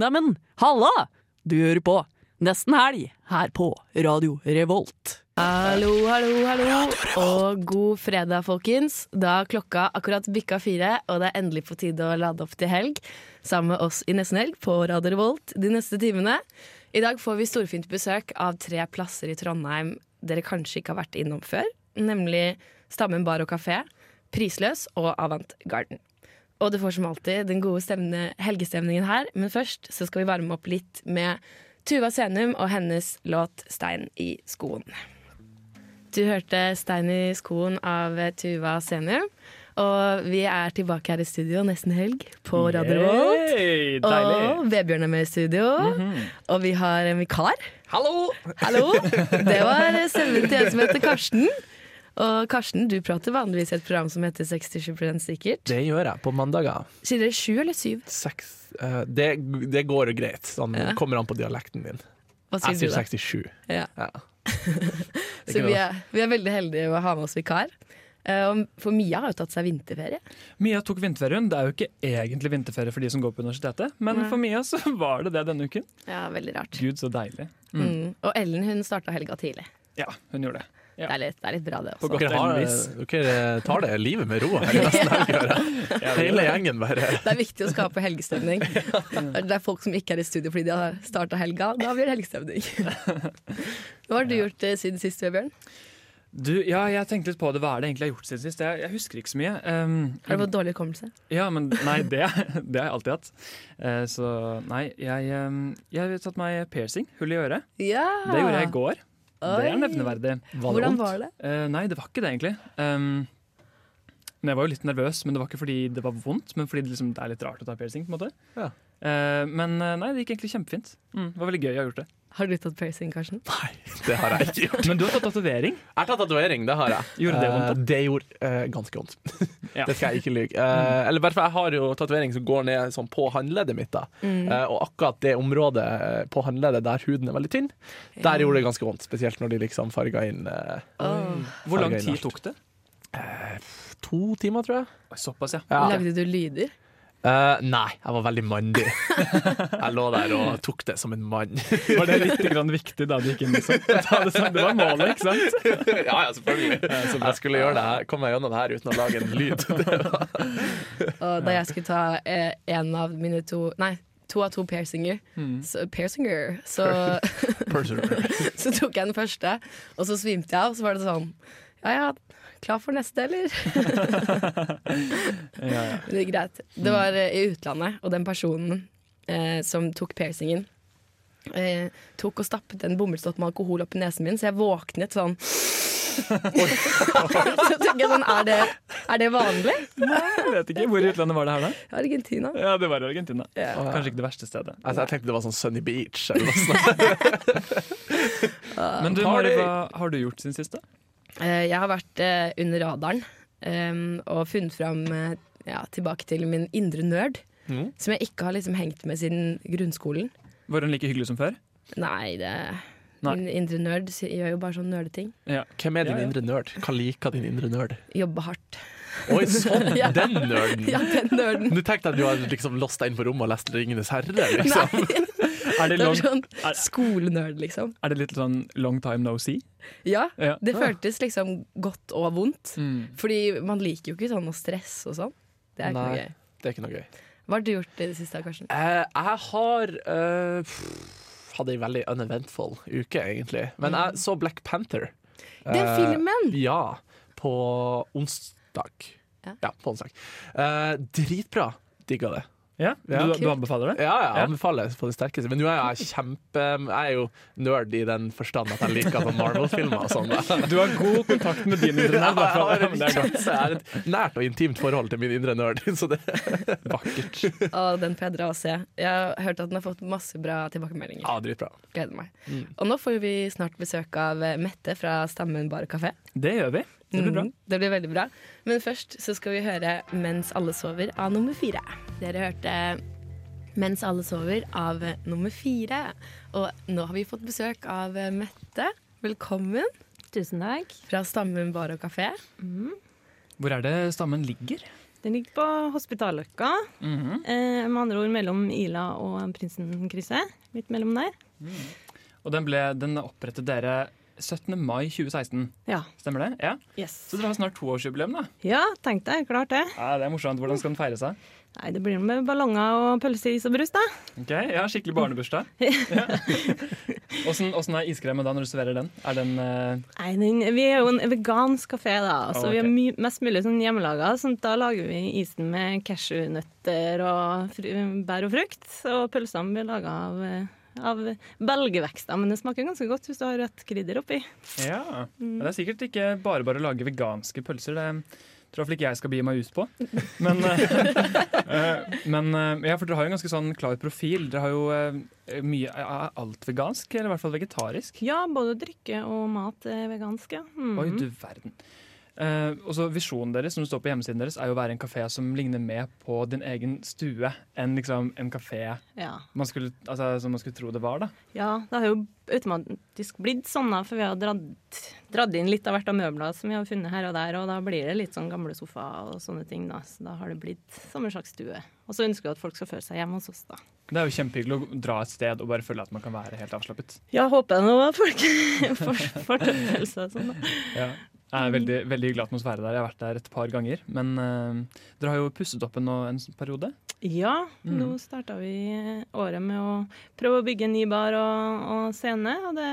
Neimen, halla! Du hører på Nesten Helg her på Radio Revolt. Hallo, hallo, hallo, og god fredag, folkens. Da har klokka akkurat bikka fire, og det er endelig på tide å lade opp til helg sammen med oss i Nesten Helg på Radio Revolt de neste timene. I dag får vi storfint besøk av tre plasser i Trondheim dere kanskje ikke har vært innom før, nemlig Stammen bar og kafé, Prisløs og Avant Garden. Og du får som alltid den gode stemne, helgestemningen her, men først så skal vi varme opp litt med Tuva Senum og hennes låt 'Stein i skoen'. Du hørte 'Stein i skoen' av Tuva Senum. Og vi er tilbake her i studio nesten helg på Radio Revolt. Hey, Og deilig. Mhm. Vebjørn er med i studio. Og vi har en vikar. Hallo! Hallo! Det var stemmen til en som heter Karsten. Og Karsten, du prater vanligvis i et program som heter 67 sikkert. Det gjør jeg på mandager. Sier dere sju eller syv? Seks, eh, det, det går jo greit. Sånn, Kommer an på dialekten din. Hva Jeg sier sier du da? 67. Ja. Ja. Det Så vi er ikke noe. er, vi er veldig heldige å ha med oss vikar. Eh, og For Mia har jo tatt seg vinterferie. Mia tok vinterferien. Det er jo ikke egentlig vinterferie for de som går på universitetet, men for Mia så var det det denne uken. Ja, veldig rart. Gud, så deilig. Mm. Og Ellen hun starta helga tidlig. Ja, hun gjorde det. Ja. Det, er litt, det er litt bra, det På også. godt Dere, har, Elvis. dere eh, tar det livet med ro her i nesten helg, hører jeg. Hele gjengen bare Det er viktig å skape helgestemning. Det er folk som ikke er i studio fordi de har starta helga. Da blir det helgestemning. Hva har du gjort eh, siden sist, Vebjørn? Du, ja, jeg tenkte litt på det. Hva er det egentlig jeg har gjort siden sist? Jeg, jeg husker ikke så mye. Ehm, Har du fått dårlig hukommelse? ja, men nei, det, det har jeg alltid hatt. Eh, så nei, jeg, ehm, jeg har tatt meg piercing, hull i øret. Ja! Det gjorde jeg i går. Det Ah. Oi. er nevneverdig. Hvordan var det? Eh, nei, det var ikke det, egentlig. Ehm, men jeg var jo litt nervøs, men det var ikke fordi det var vondt, men fordi det, liksom, det er litt rart å ta piercing. på en måte. Ja. Eh, men eh, nei, det gikk egentlig kjempefint. Mm, det var veldig gøy å ha gjort det. Har du tatt piercing, Karsten? Nei, det har jeg ikke gjort. Men du har tatt tatovering. Jeg har tatt tatovering, det har jeg. Gjorde det vondt, Eh, det gjorde eh, ganske vondt. Ja. Det skal jeg ikke lyve. Eh, eller i hvert fall, jeg har jo tatovering som går ned sånn på håndleddet mitt. da Eh, Og akkurat det området eh, på håndleddet der huden er veldig tynn, der gjorde det ganske vondt. Spesielt når de liksom farga inn eh, Hvor lang Det er gøy, tid Lars. tok det? to timer, tror jeg. Oi, Såpass, ja. Ja. Lagde du lyder? Eh, nei, jeg var veldig mandig. jeg lå der og tok det som en mann. Var det litt grann viktig da du gikk inn? Liksom? Å ta Det, som- det var målet, ikke sant? ja, ja, selvfølgelig. jeg skulle gjøre det her, komme meg gjennom det her uten å lage en lyd. Og da jeg skulle ta eh, en av mine to Nei, to av to piercinger, Mm. så, piercinger, så, så tok jeg den første, og så svimte jeg av, og så var det sånn Ja ja, klar for neste, eller? Ja, ja. Men det gikk greit. Det var eh, i utlandet, og den personen eh, som tok piercingen, eh, tok og stappet en bomullsdott med alkohol opp i nesen min, så jeg våknet sånn. så tenker jeg sånn, er det, er det vanlig? Jeg vet ikke. Hvor i utlandet var det her, da? Argentina. Ja, Det var i Argentina. Ja. Kanskje ikke det verste stedet. Altså, jeg tenkte det var sånn Sunny Beach. Eller noe sånt. Men du, Mari, hva har du gjort siden sist, da? Eh, Jeg har vært eh, under radaren em, og funnet fram eh, ja, tilbake til min indre nerd. Mm. Som jeg ikke har liksom hengt med siden grunnskolen. Var hun like hyggelig som før? Nei, det Nei. Min indre nerd si- gjør jo bare sånn nerdeting. Ja. Hvem er din Ja, ja. indre nerd? Hva liker din indre nerd? Jobbe hardt. Oi, sånn! Ja. Den nerden! Ja, den nerden. Nå tenkte jeg at du har liksom låst deg inn på rommet og lest 'Ringenes herre'. Liksom. Er det, Det long, var sånn er- skolenerd, liksom. er det litt sånn long time no see? Ja. Ja. Det føltes liksom godt og vondt. Mm. Fordi man liker jo ikke sånn å stresse og sånn. Det er ikke Nei. noe gøy. Det er ikke noe gøy. Hva har du gjort i det siste, Karsten? Eh, jeg har eh, pff, hadde en veldig uneventful uke, egentlig. Men Mm. jeg så Black Panther. Den Eh, filmen! Ja, på onsdag. Ja. Ja, på onsdag. Eh, dritbra. Digga det. Ja, Ja. Du, du anbefaler det? Ja, ja, jeg anbefaler på det sterkeste. Men nå er jeg kjempe Jeg er jo nerd i den forstand at jeg liker sånn Marvel-filmer og sånn. da. Du har god kontakt med din internett. Jeg har Det er en- jeg har et nært og intimt forhold til min indre nerd. Så det vakkert. Å, den får jeg dra og se. Jeg har hørt at den har fått masse bra tilbakemeldinger. ja, Mm. dritbra. Gleder meg. Og nå får vi snart besøk av eh, Mette fra Stammen bar og kafé. Det gjør vi. Det blir bra. Mm, det blir veldig bra. Men først så skal vi høre 'Mens alle sover' av nummer fire. Dere hørte 'Mens alle sover' av eh, nummer fire. Og nå har vi fått besøk av eh, Mette. Velkommen Tusen takk. fra Stammen bar og kafé. Hvor er det stammen ligger? Den ligger på Hospitalløkka. Mhm. Eh, med andre ord mellom Ila og Prinsenkrysset. Litt mellom der. Og den, ble, den opprettet dere 17. mai 2016. Ja. Stemmer det? Ja. Yes. Så dere har snart toårsjubileum, da. Ja, tenk deg. Klart det. Ja, det er morsomt. Hvordan skal den feire seg? Nei, det blir noe med ballonger og pølse, is og brus, da. Ok, ja, Skikkelig barnebursdag. Åssen ja. er iskremen da når du serverer den? Er den eh, Nei, den, Vi er jo en vegansk kafé, da, så Ah, ok. vi har my mest mulig sånn hjemmelaga. Sånn, da lager vi isen med cashewnøtter og fru bær og frukt. Og pølsene blir laga av, eh, av belgvekster. Men det smaker ganske godt hvis du har rødt krydder oppi. ja. ja. Det er sikkert ikke bare bare å lage veganske pølser. Det tror jeg iallfall ikke jeg skal begi meg ut på. Men, eh, eh, men eh, ja, for dere har jo en ganske sånn klar profil. Dere har jo eh, mye Er alt vegansk, eller i hvert fall vegetarisk? Ja, både drikke og mat er vegansk, ja. Mhm. Oi, du verden. Eh, og så Visjonen deres som det står på hjemmesiden deres, er jo å være en kafé som ligner mer på din egen stue enn liksom en kafé ja. man skulle, altså, som man skulle tro det var. da Ja, det har jo automatisk blitt sånn, da, for vi har dratt, dratt inn litt av hvert av møblene som vi har funnet her og der, og da blir det litt sånn gamle sofaer og sånne ting, da. Så da har det blitt som en slags stue. Og så ønsker vi at folk skal føle seg hjemme hos oss, da. Det er jo kjempehyggelig å dra et sted og bare føle at man kan være helt avslappet. Ja, håper jeg nå at folk får får den følelsen og sånn, da. Det Mm. er veldig, veldig hyggelig atmosfære der. Jeg har vært der et par ganger. Men eh, dere har jo pusset opp en, nå- en periode. Ja, nå starta vi året med å prøve å bygge en ny bar og, og scene, og det,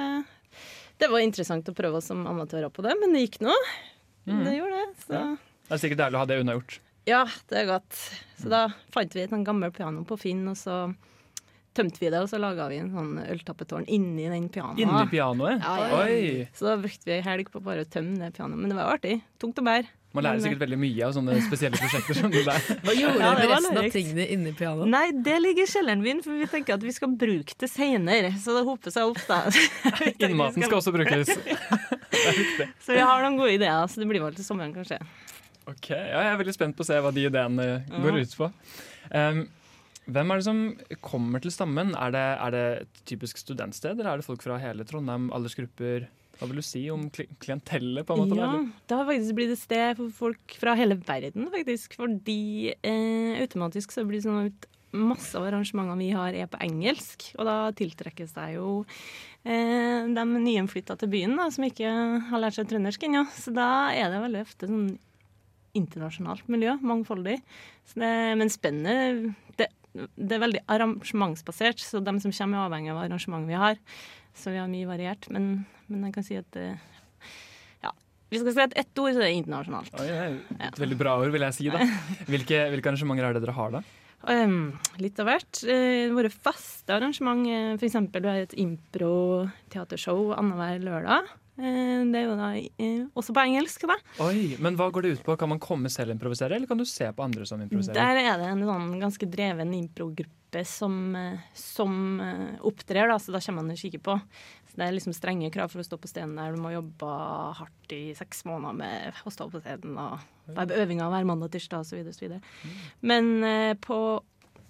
det var interessant å prøve oss som amatører på det, men det gikk nå. Det gjorde det, så Ja. Det er sikkert deilig å ha det unnagjort. Ja, det er godt. Så da fant vi et sånn gammelt piano på Finn, og så tømte vi det, og så laga vi en sånn øltappetårn inni den pianoen. Inni pianoet. Ah. Ja, ja. Oi! Så da brukte vi ei helg på bare å tømme det pianoet. Men det var jo artig. Tungt å bære. Man lærer sikkert veldig mye av sånne spesielle prosjekter som det der. Hva gjorde Ja, dere med det var resten av lærerikt. tingene inni pianoet? Nei, det ligger i kjelleren min, for vi tenker at vi skal bruke det seinere. Så det hoper seg opp, da. Innmaten skal også brukes. Så vi har noen gode ideer, så det blir vel til sommeren, kanskje. Ok, ja, Jeg er veldig spent på å se hva de ideene eh, går ut på. Em, hvem er det som kommer til stammen? Er det, er det et typisk studentsted, eller er det folk fra hele Trondheim, aldersgrupper? Hva vil du si om kli klientellet? på en måte? Ja, eller? det har faktisk blitt et sted for folk fra hele verden, faktisk. Fordi eh, automatisk så blir det sånn at masse av arrangementene vi har, er på engelsk. Og da tiltrekkes det jo eh, de nyinnflytta til byen, da, som ikke har lært seg trøndersk ennå. Så da er det veldig ofte sånn internasjonalt miljø, mangfoldig. Så det, men spennende det, det er veldig arrangementsbasert, så de som kommer er avhengig av arrangementet vi har. Så vi har mye variert. Men, men jeg kan si at eh, hvis jeg skal si at ett ord, så er det internasjonalt. Oi, det er et veldig bra ord, vil jeg si. da. Hvilke, hvilke arrangementer er det dere har, da? Ehm, litt av hvert. Eh, våre faste arrangement, eh, for eksempel vi har et impro-teatershow annenhver lørdag. Eh, det er jo da eh, også på engelsk, da. Oi, men Hva går det ut på? Kan man komme selv og improvisere, eller kan du se på andre som improviserer? Der er det en sånn ganske dreven improgruppe som, eh, som eh, opptrer, da, så da kommer man og kikker på. Så Det er liksom strenge krav for å stå på scenen der. Du må jobbe hardt i seks måneder med å stå på scenen og være på øvinger hver mandag og tirsdag osv. videre. Men eh, på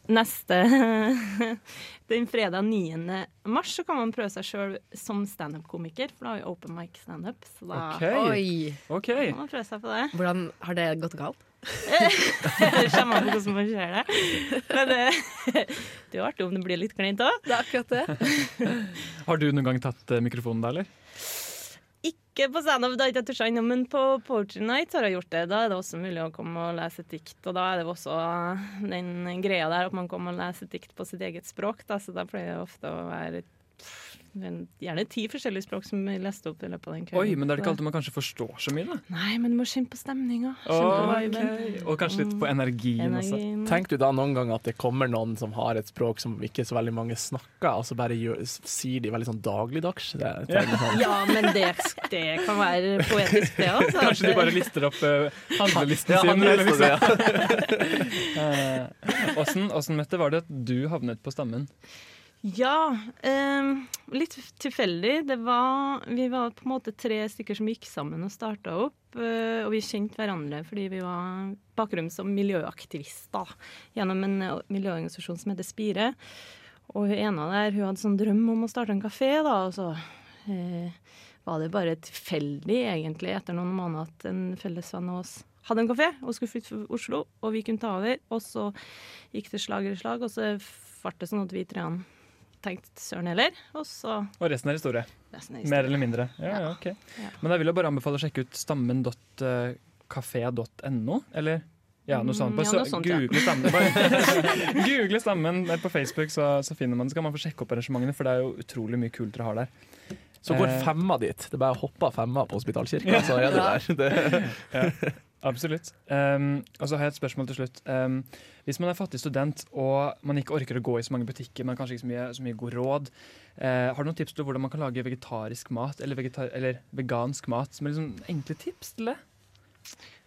neste Den fredag 9. mars så kan man prøve seg sjøl som standup-komiker, for da har vi open mic standup. Så da Ok, Oi! ok. kan man prøve seg på det. Hvordan har det gått galt? Det kommer an på hvordan man ser det. Men eh, det er jo artig om det blir litt kleint òg. Det er akkurat det. Har du noen gang tatt eh, mikrofonen da, eller? Ikke på standup, da har jeg ikke turt ennå, men på Poetry Night har jeg gjort det. Da er det også mulig å komme og lese et dikt, og da er det jo også den greia der at man kommer og leser et dikt på sitt eget språk, da, så da pleier det ofte å være pff, men gjerne ti forskjellige språk som jeg leste opp i løpet av den kvelden. Oi, men det er ikke alltid man kanskje forstår så mye, da. Nei, men du må skynde på stemninga. Ok, Og kanskje litt på energien også. Tenk du da noen gang at det kommer noen som har et språk som ikke så veldig mange snakker, og så bare gjør, sier de veldig sånn dagligdags? Det, er- det er litt sånn. Ja, men det, det kan være poetisk, det òg. Kanskje de bare lister opp eh, handlelisten Ja, sin. han eller leste det, ja. liksom. Åssen, åssen, Mette, var det at du havnet på stammen? Ja, ehm, litt tilfeldig. Det var, vi var på en måte tre stykker som gikk sammen og starta opp. eh, og vi kjente hverandre fordi vi var bakgrunn som miljøaktivister gjennom en eh, miljøorganisasjon som heter Spire. Og hun ene der hun hadde sånn drøm om å starte en kafé, da. Og så eh, var det bare tilfeldig, egentlig, etter noen måneder at en felles venn av oss hadde en kafé og skulle flytte fra Oslo, og vi kunne ta over. Og så gikk det slag i slag, og så fart det sånn at vi treene tenkte søren heller. Og så Og resten er historie. resten er Mer historie. eller mindre. Ja, ja, ok. Ja. Men jeg vil jo bare anbefale å sjekke ut stammen.kafé.no, eller ja, noe sånt. Mm, Bare ja, så, noe sånt, ja. google, stammen, bare, google stammen på Facebook, så, så finner man det. Så kan man få sjekke opp arrangementene, for det er jo utrolig mye kult dere har der. Så går Eh. femma dit. Det er bare å hoppe av femma på Hospitalkirka, så er det der. Det, Absolutt. Um, og så har jeg et spørsmål til slutt. Um, hvis man er fattig student og man ikke orker å gå i så mange butikker, man har kanskje ikke så mye, så mye god råd, eh, har du noen tips til hvordan man kan lage vegetarisk mat eller, vegeta- eller vegansk mat? Som er liksom enkle tips til det?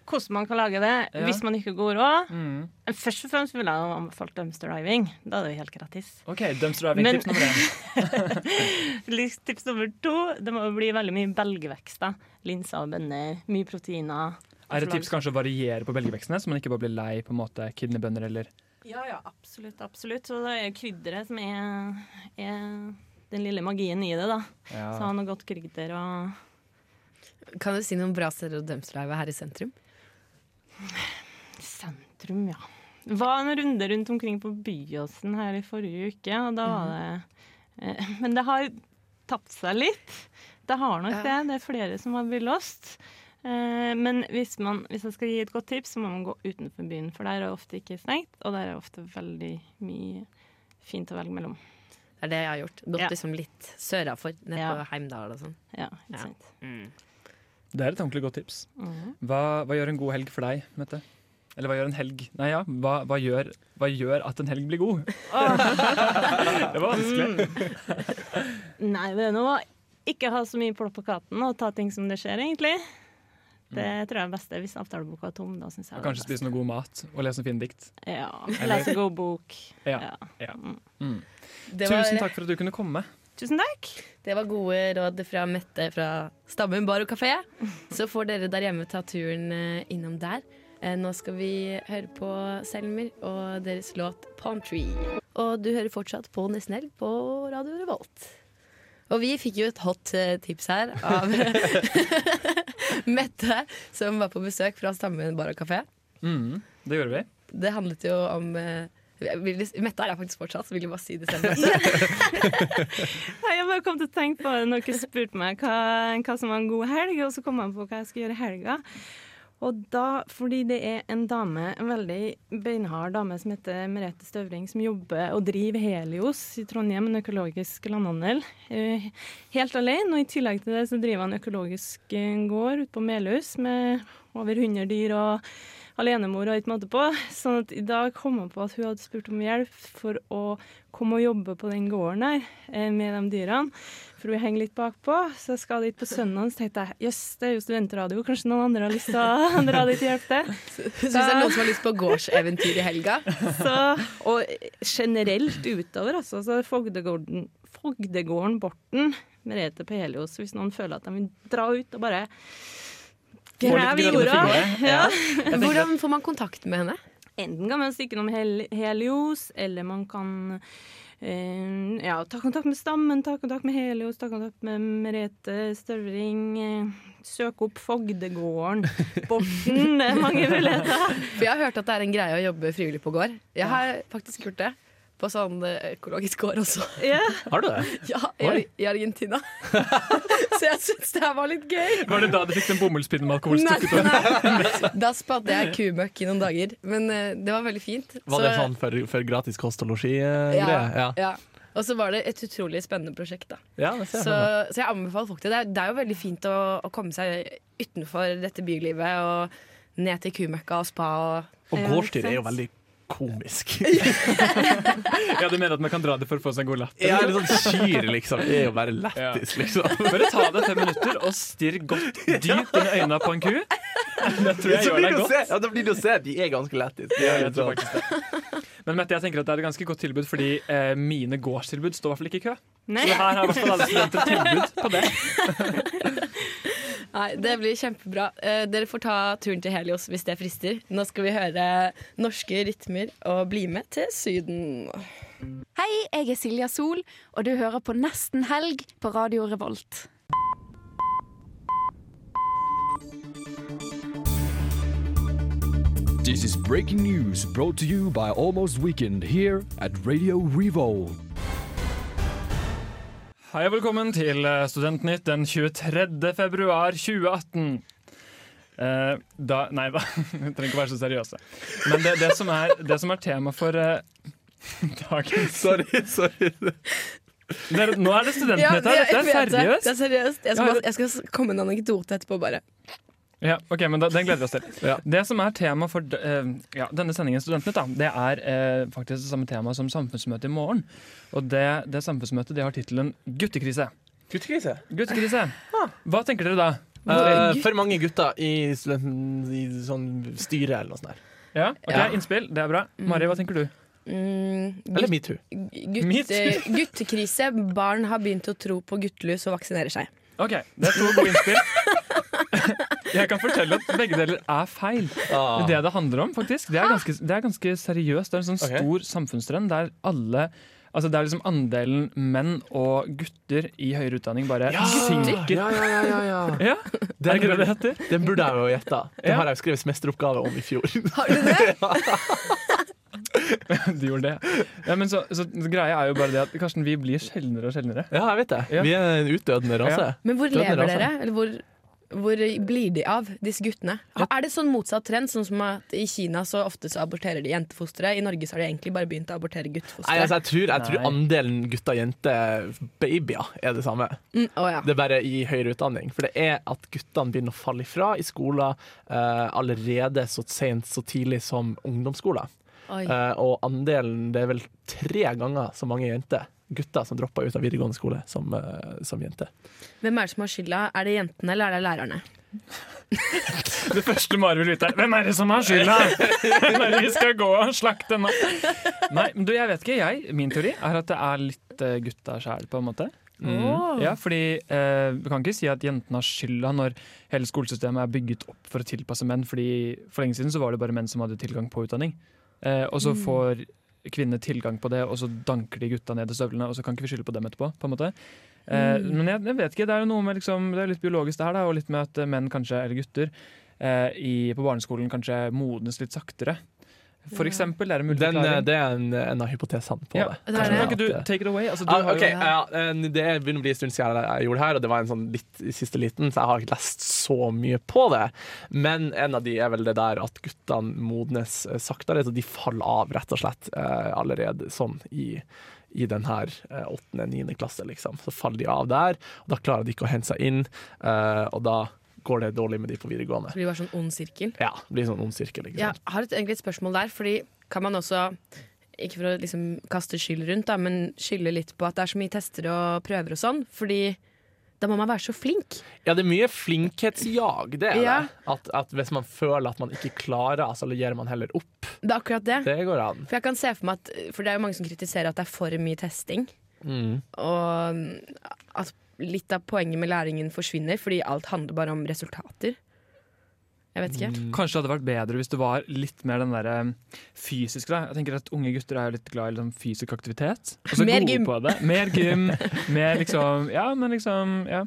Hvordan man kan lage det Ja. hvis man ikke går råd. Mm. Først og fremst ville jeg jo anbefalt dumpster diving. Da er det jo helt gratis. OK, dumpster diving, Men- tips nummer én. Litt Tips nummer to det må jo bli veldig mye belgvekster. Linser og bønner. Mye proteiner. Er det tips kanskje å variere på belgvekstene, så man ikke bare blir lei på en måte kidneybønner eller Ja, ja, absolutt. absolutt. Og det er krydderet som er, er den lille magien i det. da. Så ha ja. noe godt krydder og Kan du si noen bra steder å dumpsterdive her i sentrum? Sentrum, ja. Var en runde rundt omkring på Byåsen her i forrige uke, og da var det eh, Men det har tapt seg litt. Det har nok Ja. det. Det er flere som har blitt lost. Eh, Men hvis, man, hvis jeg skal gi et godt tips, så må man gå utenfor byen. For der er det ofte ikke stengt, og der er det ofte veldig mye fint å velge mellom. Det er det jeg har gjort. Gått Ja. liksom litt sørafor, nede Ja. på Heimdal og sånn. Ja. Ja, ikke sant. Mm. Det er et ordentlig godt tips. Mhm. Hva, hva gjør en god helg for deg, Mette? Eller hva gjør en helg Nei, ja, hva, hva, gjør, hva gjør at en helg blir god? det var vanskelig. Mm. Nei, det er noe å ikke ha så mye på plakaten og ta ting som det skjer, egentlig. Det Mm. tror jeg er det beste. Hvis avtaleboka er tom, da syns jeg Og det er kanskje best. spise noe god mat og lese noen fine dikt. Ja. Eller- Lese god bok. Ja. Ja. Tusen takk for at du kunne komme. Tusen takk. Det var gode råd fra Mette fra Stammen bar og kafé. Så får dere der hjemme ta turen eh, innom der. Eh, Nå skal vi høre på Selmer og deres låt 'Palm Tree'. Og du hører fortsatt på Nesten Helg på Radio Revolt. Og vi fikk jo et hot eh, tips her av Mette, som var på besøk fra Stammen bar og kafé. Mm, det gjorde vi. Det handlet jo om eh, Mette er der faktisk fortsatt, så vil jeg bare si det selv. Nei, Jeg bare kom til å tenke på det når dere spurte meg hva, hva som var en god helg, og så kom jeg på hva jeg skulle gjøre i helga. Og da, fordi det er en dame, en veldig beinhard dame som heter Merete Støvring, som jobber og driver Helios i Trondheim, en økologisk landhandel, eh, helt alene. Og i tillegg til det så driver han økologisk eh, gård ute på Melhus med over 100 dyr og alenemor og ikke måte på. Sånn at i dag kom jeg på at hun hadde spurt om hjelp for å komme og jobbe på den gården der eh, med de dyrene. For hun henger litt bakpå, så jeg skal dit på søndag. Så tenkte jeg jøss, det er jo studentradio, kanskje noen andre har lyst til å dra dit og hjelpe til. Syns det er noen som har lyst på gårdseventyr i helga? Så, og generelt utover, altså, så er Fogdegården, Fogdegården Borten, Merete på Helios, hvis noen føler at de vil dra ut og bare Få litt grave i grønne jorda. fingre. Ja. Hvordan får man kontakt med henne? Enten kan man stikke innom Hel Helios, eller man kan eh, ja, ta kontakt med stammen, ta kontakt med Helios, ta kontakt med Merete Støvring. Eh, søk opp Fogdegården, Borten. Det er mange muligheter. For jeg har hørt at det er en greie å jobbe frivillig på gård. Jeg har faktisk gjort det. På sånn eh, økologisk gård også. Ja. har du det? Ja, i, i Argentina. Så jeg syns det her var litt gøy. Var det da du fikk den bomullspinnen med alkohol Nei, stukket opp? nei. Da spadde jeg kumøkk i noen dager, men eh, det var veldig fint. Var det Så- sånn for, for gratis kost og losji-greie? Ja, Ja. ja. Og så var det et utrolig spennende prosjekt, da. Ja, det ser jeg Så, for meg. så jeg anbefaler folk det. Det er, det er jo veldig fint å, å komme seg utenfor dette bylivet og ned til kumøkka og spa og Og Ja, gårdsdyr ikke er sant? jo veldig komisk. Ja, du mener at man kan dra det for å få seg en god latter? Ja, eller sånn Kyr liksom er jo bare lættis, liksom. Bare ta deg fem minutter og stirr godt dypt inn i øynene på en ku. Det tror jeg Så gjør blir det deg å godt. se- ja, da blir det å se at de er ganske lættis. De Ja, er jeg litt tror sånn- faktisk det. Men Mette, jeg tenker at det er et ganske godt tilbud, fordi eh, mine gårdstilbud står i hvert fall ikke i kø. Nei. Så her har i hvert fall alle studenter tilbud på det. Nei, det blir kjempebra. Eh, dere får ta turen til Helios hvis det frister. Nå skal vi høre norske rytmer og bli med til Syden. Hei, jeg er Silja Sol, og du hører på Nesten helg på Radio Revolt. This is breaking news brought to you by Almost Weekend here at Radio Revolt. Hei og velkommen til eh, Studentnytt den 23. februar 2018. Eh, da, nei da, vi trenger ikke være så seriøse. Men det, det, som, er, det som er tema for eh, dagens Sorry, sorry. Dere, Nå er det Studentnytt her, dette er Det seriøst! er seriøst. Jeg skal, Ja, bare, jeg skal komme med en anekdote etterpå, bare. Ja, ok, men da, Den gleder vi oss til. Ja. Det som er tema for eh, ja, denne sendingen, Studentnytt, da, det er eh, faktisk det samme tema som samfunnsmøtet i morgen. Og det, det samfunnsmøtet det har tittelen 'Guttekrise'. Guttekrise. Guttekrise. Hva tenker dere da? Eh, for mange gutter i, studenten, i sånn styre eller noe sånt. der. Ja, ok, Ja. Innspill, det er bra. Mari, hva tenker du? Mm, Eller metoo. Mitt. gutt, eh, guttekrise. Barn har begynt å tro på guttelus og vaksinerer seg. Ok, det er to gode innspill. Jeg kan fortelle at begge deler er feil. Ah. Det det handler om, faktisk, det er ganske, det er ganske seriøst. Det er en sånn Ok. stor samfunnstrend der alle Altså Det er liksom andelen menn og gutter i høyere utdanning bare synker. Ja, ja, ja, ja, ja. Ja, Er Den, ikke det det burde, heter? den burde jeg jo gjette. Det Ja. har jeg jo skrevet semesteroppgave om i fjor. Har du det? De gjorde det. Ja, men så, så greia er jo bare det at Karsten, vi blir sjeldnere og sjeldnere. Ja, jeg vet det. Ja. Vi er en utdødende rase. Men hvor Tror den lever raser. dere? Eller hvor, hvor blir de av, disse guttene? Er det sånn motsatt trend, sånn som at i Kina så ofte så aborterer de jentefostre? I Norge så har de egentlig bare begynt å abortere Nei, guttefostre. altså, jeg, tror, jeg tror Nei. andelen gutter-jenter-babyer er det samme. Mm, å ja. Det er bare i høyere utdanning. For det er at guttene begynner å falle ifra i skoler eh, allerede så sent, så tidlig som ungdomsskoler. Oi. Eh, og andelen Det er vel tre ganger så mange jenter gutter som dropper ut av videregående skole som, eh, som jenter. Hvem er det som har skylda? Er det jentene eller er det lærerne? Det første Mari vil vite, er hvem er det som har skylda? Hvem er det vi skal gå og slakte nå? Nei, men du, jeg vet ikke. Jeg, min teori er at det er litt eh, gutta sjæl, på en måte. Mm. Ja, fordi eh, Vi kan ikke si at jentene har skylda når hele skolesystemet er bygget opp for å tilpasse menn. fordi For lenge siden så var det bare menn som hadde tilgang på utdanning. Eh, og så får kvinnene tilgang på det, og så danker de gutta ned i støvlene. Og så kan ikke vi skylde på dem etterpå. på en måte. Eh, Men jeg, jeg vet ikke. Det er jo noe med liksom, det er litt biologisk det her, da, og litt med at eh, menn kanskje, eller gutter eh, i, på barneskolen kanskje modnes litt saktere. For eksempel. Det er en mulig Den, eh, forklaring. det er en, en av hypotesene på Ja. det. Det er Kan det. ikke du take it away? Altså, du Ah, har jo- ok, ja, eh, Det begynner å bli en stund siden jeg gjorde det her, og det var en sånn litt i siste liten, så jeg har ikke lest så mye på det. Men en av de er vel det der at guttene modnes eh, saktere, så de faller av, rett og slett, eh, allerede sånn i i den her eh, åttende, niende klasse, liksom. Så faller de av der, og da klarer de ikke å hente seg inn, eh, og da går det dårlig med de på videregående. Det blir bare sånn ond sirkel. Ja, det blir sånn ond sirkel, ikke Jeg sant. har et, egentlig et spørsmål der, fordi kan man også ikke for å liksom kaste skyld rundt, da, men skylde litt på at det er så mye tester og prøver og sånn. Fordi da må man være så flink. Ja, det er mye flinkhetsjag, det er Ja. det. At, at hvis man føler at man ikke klarer, så gir man heller opp. Det er akkurat det. Det går an. For jeg kan se for meg at For det er jo mange som kritiserer at det er for mye testing. Og at litt av poenget med læringen forsvinner fordi alt handler bare om resultater. Jeg vet ikke. eh, Kanskje det hadde vært bedre hvis det var litt mer den der eh, fysiske. Da. Jeg tenker at Unge gutter er jo litt glad i liksom, fysisk aktivitet. Og så Mer gode gym. På det. Mer gym. Mer liksom Ja, men liksom ja.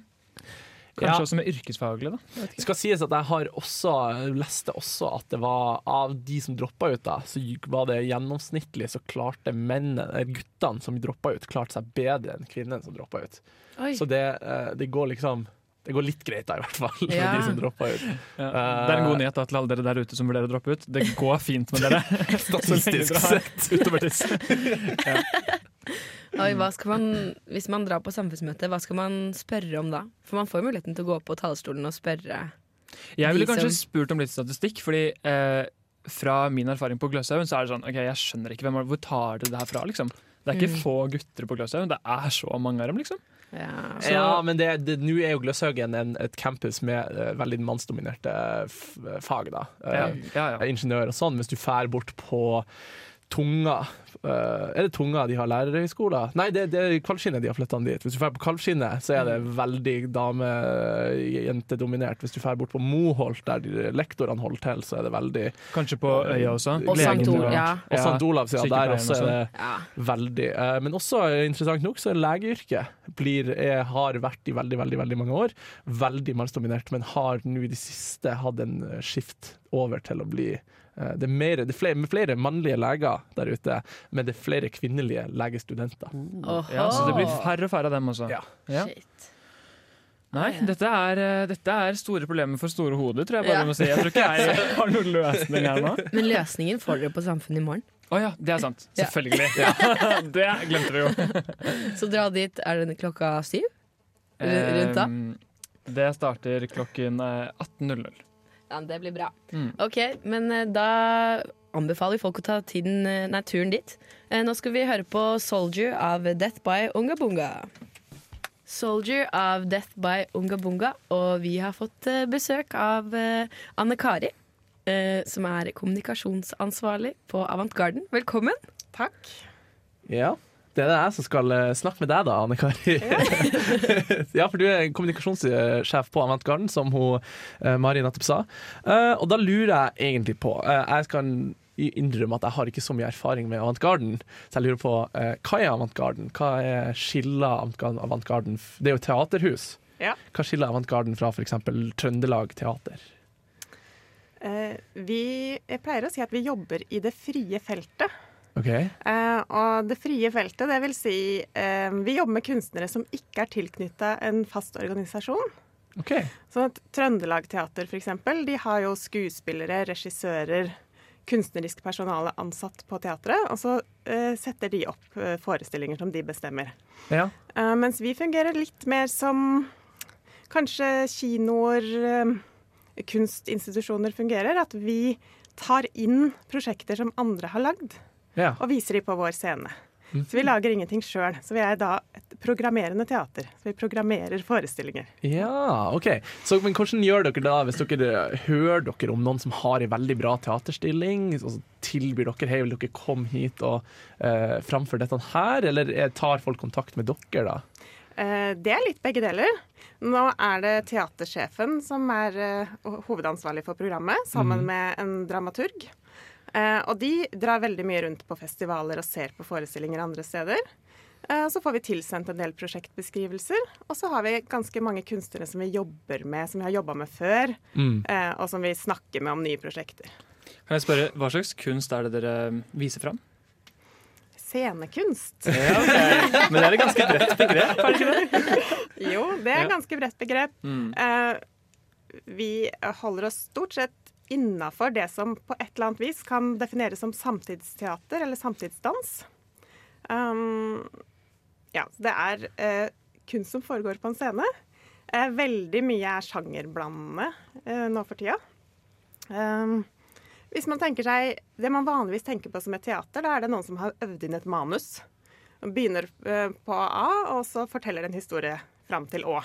Kanskje Ja. også med yrkesfaglig, da. Det skal sies at jeg har også leste også at det var av de som droppa ut, da, så var det gjennomsnittlig så klarte mennene, eh, guttene som droppa ut, klarte seg bedre enn kvinnene som droppa ut. Oi. Så det, eh, det går liksom Det går litt greit da, i hvert fall, med Ja. de som droppa ut. Ja. Det er en god nyhet da, til alle dere der ute som vurderer å droppe ut. Det går fint med dere. Statistisk sett. Utover tiss. Oi, hva skal man, hvis man drar på samfunnsmøte, hva skal man spørre om da? For man får jo muligheten til å gå opp på talerstolen og spørre. Jeg ville De kanskje spurt om litt statistikk, fordi eh, fra min erfaring på Gløshaugen, så er det sånn OK, jeg skjønner ikke hvem er- Hvor tar dere det her fra, liksom? Det er Mm. ikke få gutter på Gløshaugen, det er så mange av dem, liksom. Ja. Så- ja, men det- det- nå er jo Gløshaugen en, et campus med eh, veldig mannsdominerte eh, f- fag, da. Eh, Ja, ja, ja. ingeniør og sånn, mens du fær bort på Tunga, eh, Er det tunga de har lærerhøyskoler? Nei, det, det er kalvskinnet de har flytta dit. Hvis du drar på kalvskinnet, så er det veldig dame-jentedominert. Hvis du drar bort på Moholt, der de lektorene holder til, så er det veldig Kanskje på øya også. Og Sankt Legen- Olav, ja. Og St. Olavs, ja. Der Sykepleieren også er også. det Ja. Veldig. Eh, Men også eh, interessant nok, så er legeyrket blir, er, har vært i veldig, veldig, veldig mange år veldig mannsdominert, men har nå i det siste hatt en eh, skift over til å bli eh, det er, mer, det er flere, flere mannlige leger der ute, men det er flere kvinnelige legestudenter. Ja, så det blir færre og færre av dem også. Ja. Ja. Shit. Nei, dette er, eh, dette er store problemer for store hoder, tror jeg bare Ja. må si. Jeg tror ikke jeg har noen løsning her nå. Men løsningen får dere på Samfunnet i morgen. Å ja, det er sant. Ja. Selvfølgelig. det glemte vi jo. Så dra dit. Er det klokka syv? Ru- rundt da? Ehm, Det starter klokken eh, 18.00. Ja, det blir bra. Mm. Ok, men eh, da anbefaler vi folk å ta tiden, eh, nei, turen dit. Eh, Nå skal vi høre på Soldier av Death by Unga Bunga. Soldier av Death by Unga Bunga, og vi har fått eh, besøk av eh, Anne Kari. eh, Som er kommunikasjonsansvarlig på Avant Garden. Velkommen. Takk. Ja. Det er det jeg som skal eh, snakke med deg da, Anne Kari. ja, for du er kommunikasjonssjef på Avant Garden, som hun, eh, Mari nettopp sa. Eh, og da lurer jeg egentlig på eh, Jeg skal innrømme at jeg har ikke så mye erfaring med Avant Garden, så jeg lurer på eh, hva er Avant Garden? Hva er skiller Avant Garden- Avant Garden f- Det er jo et teaterhus. Ja. Hva skiller Avant Garden fra f.eks. Trøndelag Teater? Eh, vi jeg pleier å si at vi jobber i det frie feltet. Ok, Eh, og det frie feltet, det vil si eh, vi jobber med kunstnere som ikke er tilknytta en fast organisasjon. ok Sånn at Trøndelag Teater f.eks., de har jo skuespillere, regissører, kunstnerisk personale ansatt på teatret, og så eh, setter de opp eh, forestillinger som de bestemmer. Ja. Eh, mens vi fungerer litt mer som kanskje kinoer, eh, kunstinstitusjoner fungerer. At vi tar inn prosjekter som andre har lagd, ja. og viser de på vår scene. Så vi lager ingenting sjøl. Så vi er da et programmerende teater. Så vi programmerer forestillinger. Ja, ok. Så, men hvordan gjør dere da hvis dere hører dere om noen som har en veldig bra teaterstilling? Og så tilbyr dere hei, vil dere komme hit og eh, framføre dette her? Eller eh, tar folk kontakt med dere da? Eh, Det er litt begge deler. Nå er det teatersjefen som er eh, ho- hovedansvarlig for programmet, sammen med en dramaturg. Eh, Og de drar veldig mye rundt på festivaler og ser på forestillinger andre steder. Eh, og Så får vi tilsendt en del prosjektbeskrivelser. Og så har vi ganske mange kunstnere som vi jobber med, som vi har jobba med før, eh, og som vi snakker med om nye prosjekter. Kan jeg spørre, Hva slags kunst er det dere eh, viser fram? Scenekunst. Men det er et ganske bredt begrep. er det ikke det? Jo, det er et ganske bredt begrep. Mm. Eh, vi holder oss stort sett innafor det som på et eller annet vis kan defineres som samtidsteater eller samtidsdans. Um, ja, det er eh, kunst som foregår på en scene. Eh, veldig mye er sjangerblandende eh, nå for tida. Um, hvis man tenker seg Det man vanligvis tenker på som et teater, da er det noen som har øvd inn et manus. Man begynner eh, på A, og så forteller en historie fram til Å.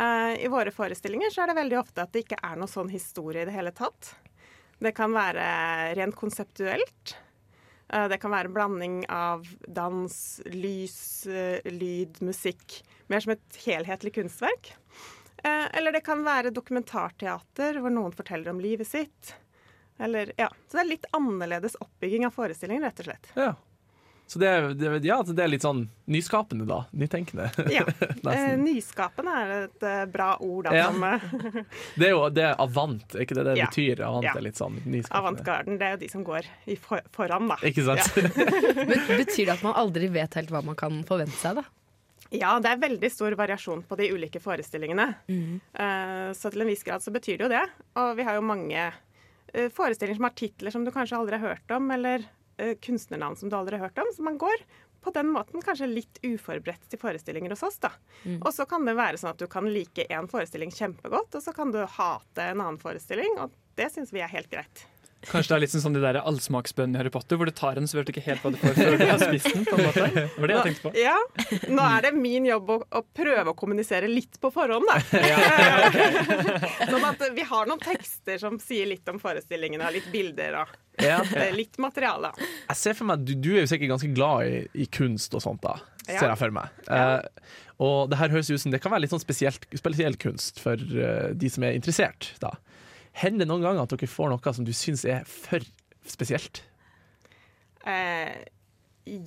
Eh, I våre forestillinger så er det veldig ofte at det ikke er noe sånn historie i det hele tatt. Det kan være rent konseptuelt. Eh, Det kan være en blanding av dans, lys, eh, lyd, musikk. Mer som et helhetlig kunstverk. Eh, Eller det kan være dokumentarteater hvor noen forteller om livet sitt. Eller, ja. Så det er litt annerledes oppbygging av forestillingen, rett og slett. Ja. Så det, er- det, er- ja, så det er litt sånn nyskapende da, nytenkende. Ja. Eh, Nesten. Nyskapende er et eh, bra ord, da. Ja. Som, eh, Det er jo det er avant, er ikke det det Ja. betyr? Avant Ja. er litt sånn nyskapende. Avantgarden, det er jo de som går i for foran, da. Ikke sant? Men betyr det at man aldri vet helt hva man kan forvente seg, da? Ja, det er veldig stor variasjon på de ulike forestillingene. Mhm. Eh, så til en viss grad så betyr det jo det. Og vi har jo mange eh, forestillinger som har titler som du kanskje aldri har hørt om, eller eh, kunstnernavn som du aldri har hørt om. Så man går på den måten kanskje litt uforberedt til forestillinger hos oss, da. Mm. Og så kan det være sånn at du kan like en forestilling kjempegodt, og så kan du hate en annen forestilling, og det syns vi er helt greit. Kanskje det er litt sånn som de der allsmaksbønnene i Harry Potter, hvor du tar en så vet du ikke helt hva du får før du har spist den. på en måte. Det var det jeg tenkte på. Ja, Nå er det min jobb å, å prøve å kommunisere litt på forhånd, da. sånn at vi har noen tekster som sier litt om forestillingene, og litt bilder og eh, litt materiale. Jeg ser for meg, du, du er jo sikkert ganske glad i, i kunst og sånt, da. Ser Ja. jeg for meg. Eh, og det her høres ut som det kan være litt sånn spesielt, spesiell kunst for eh, de som er interessert. da. Hender det noen ganger at dere får noe som du syns er for spesielt? Eh,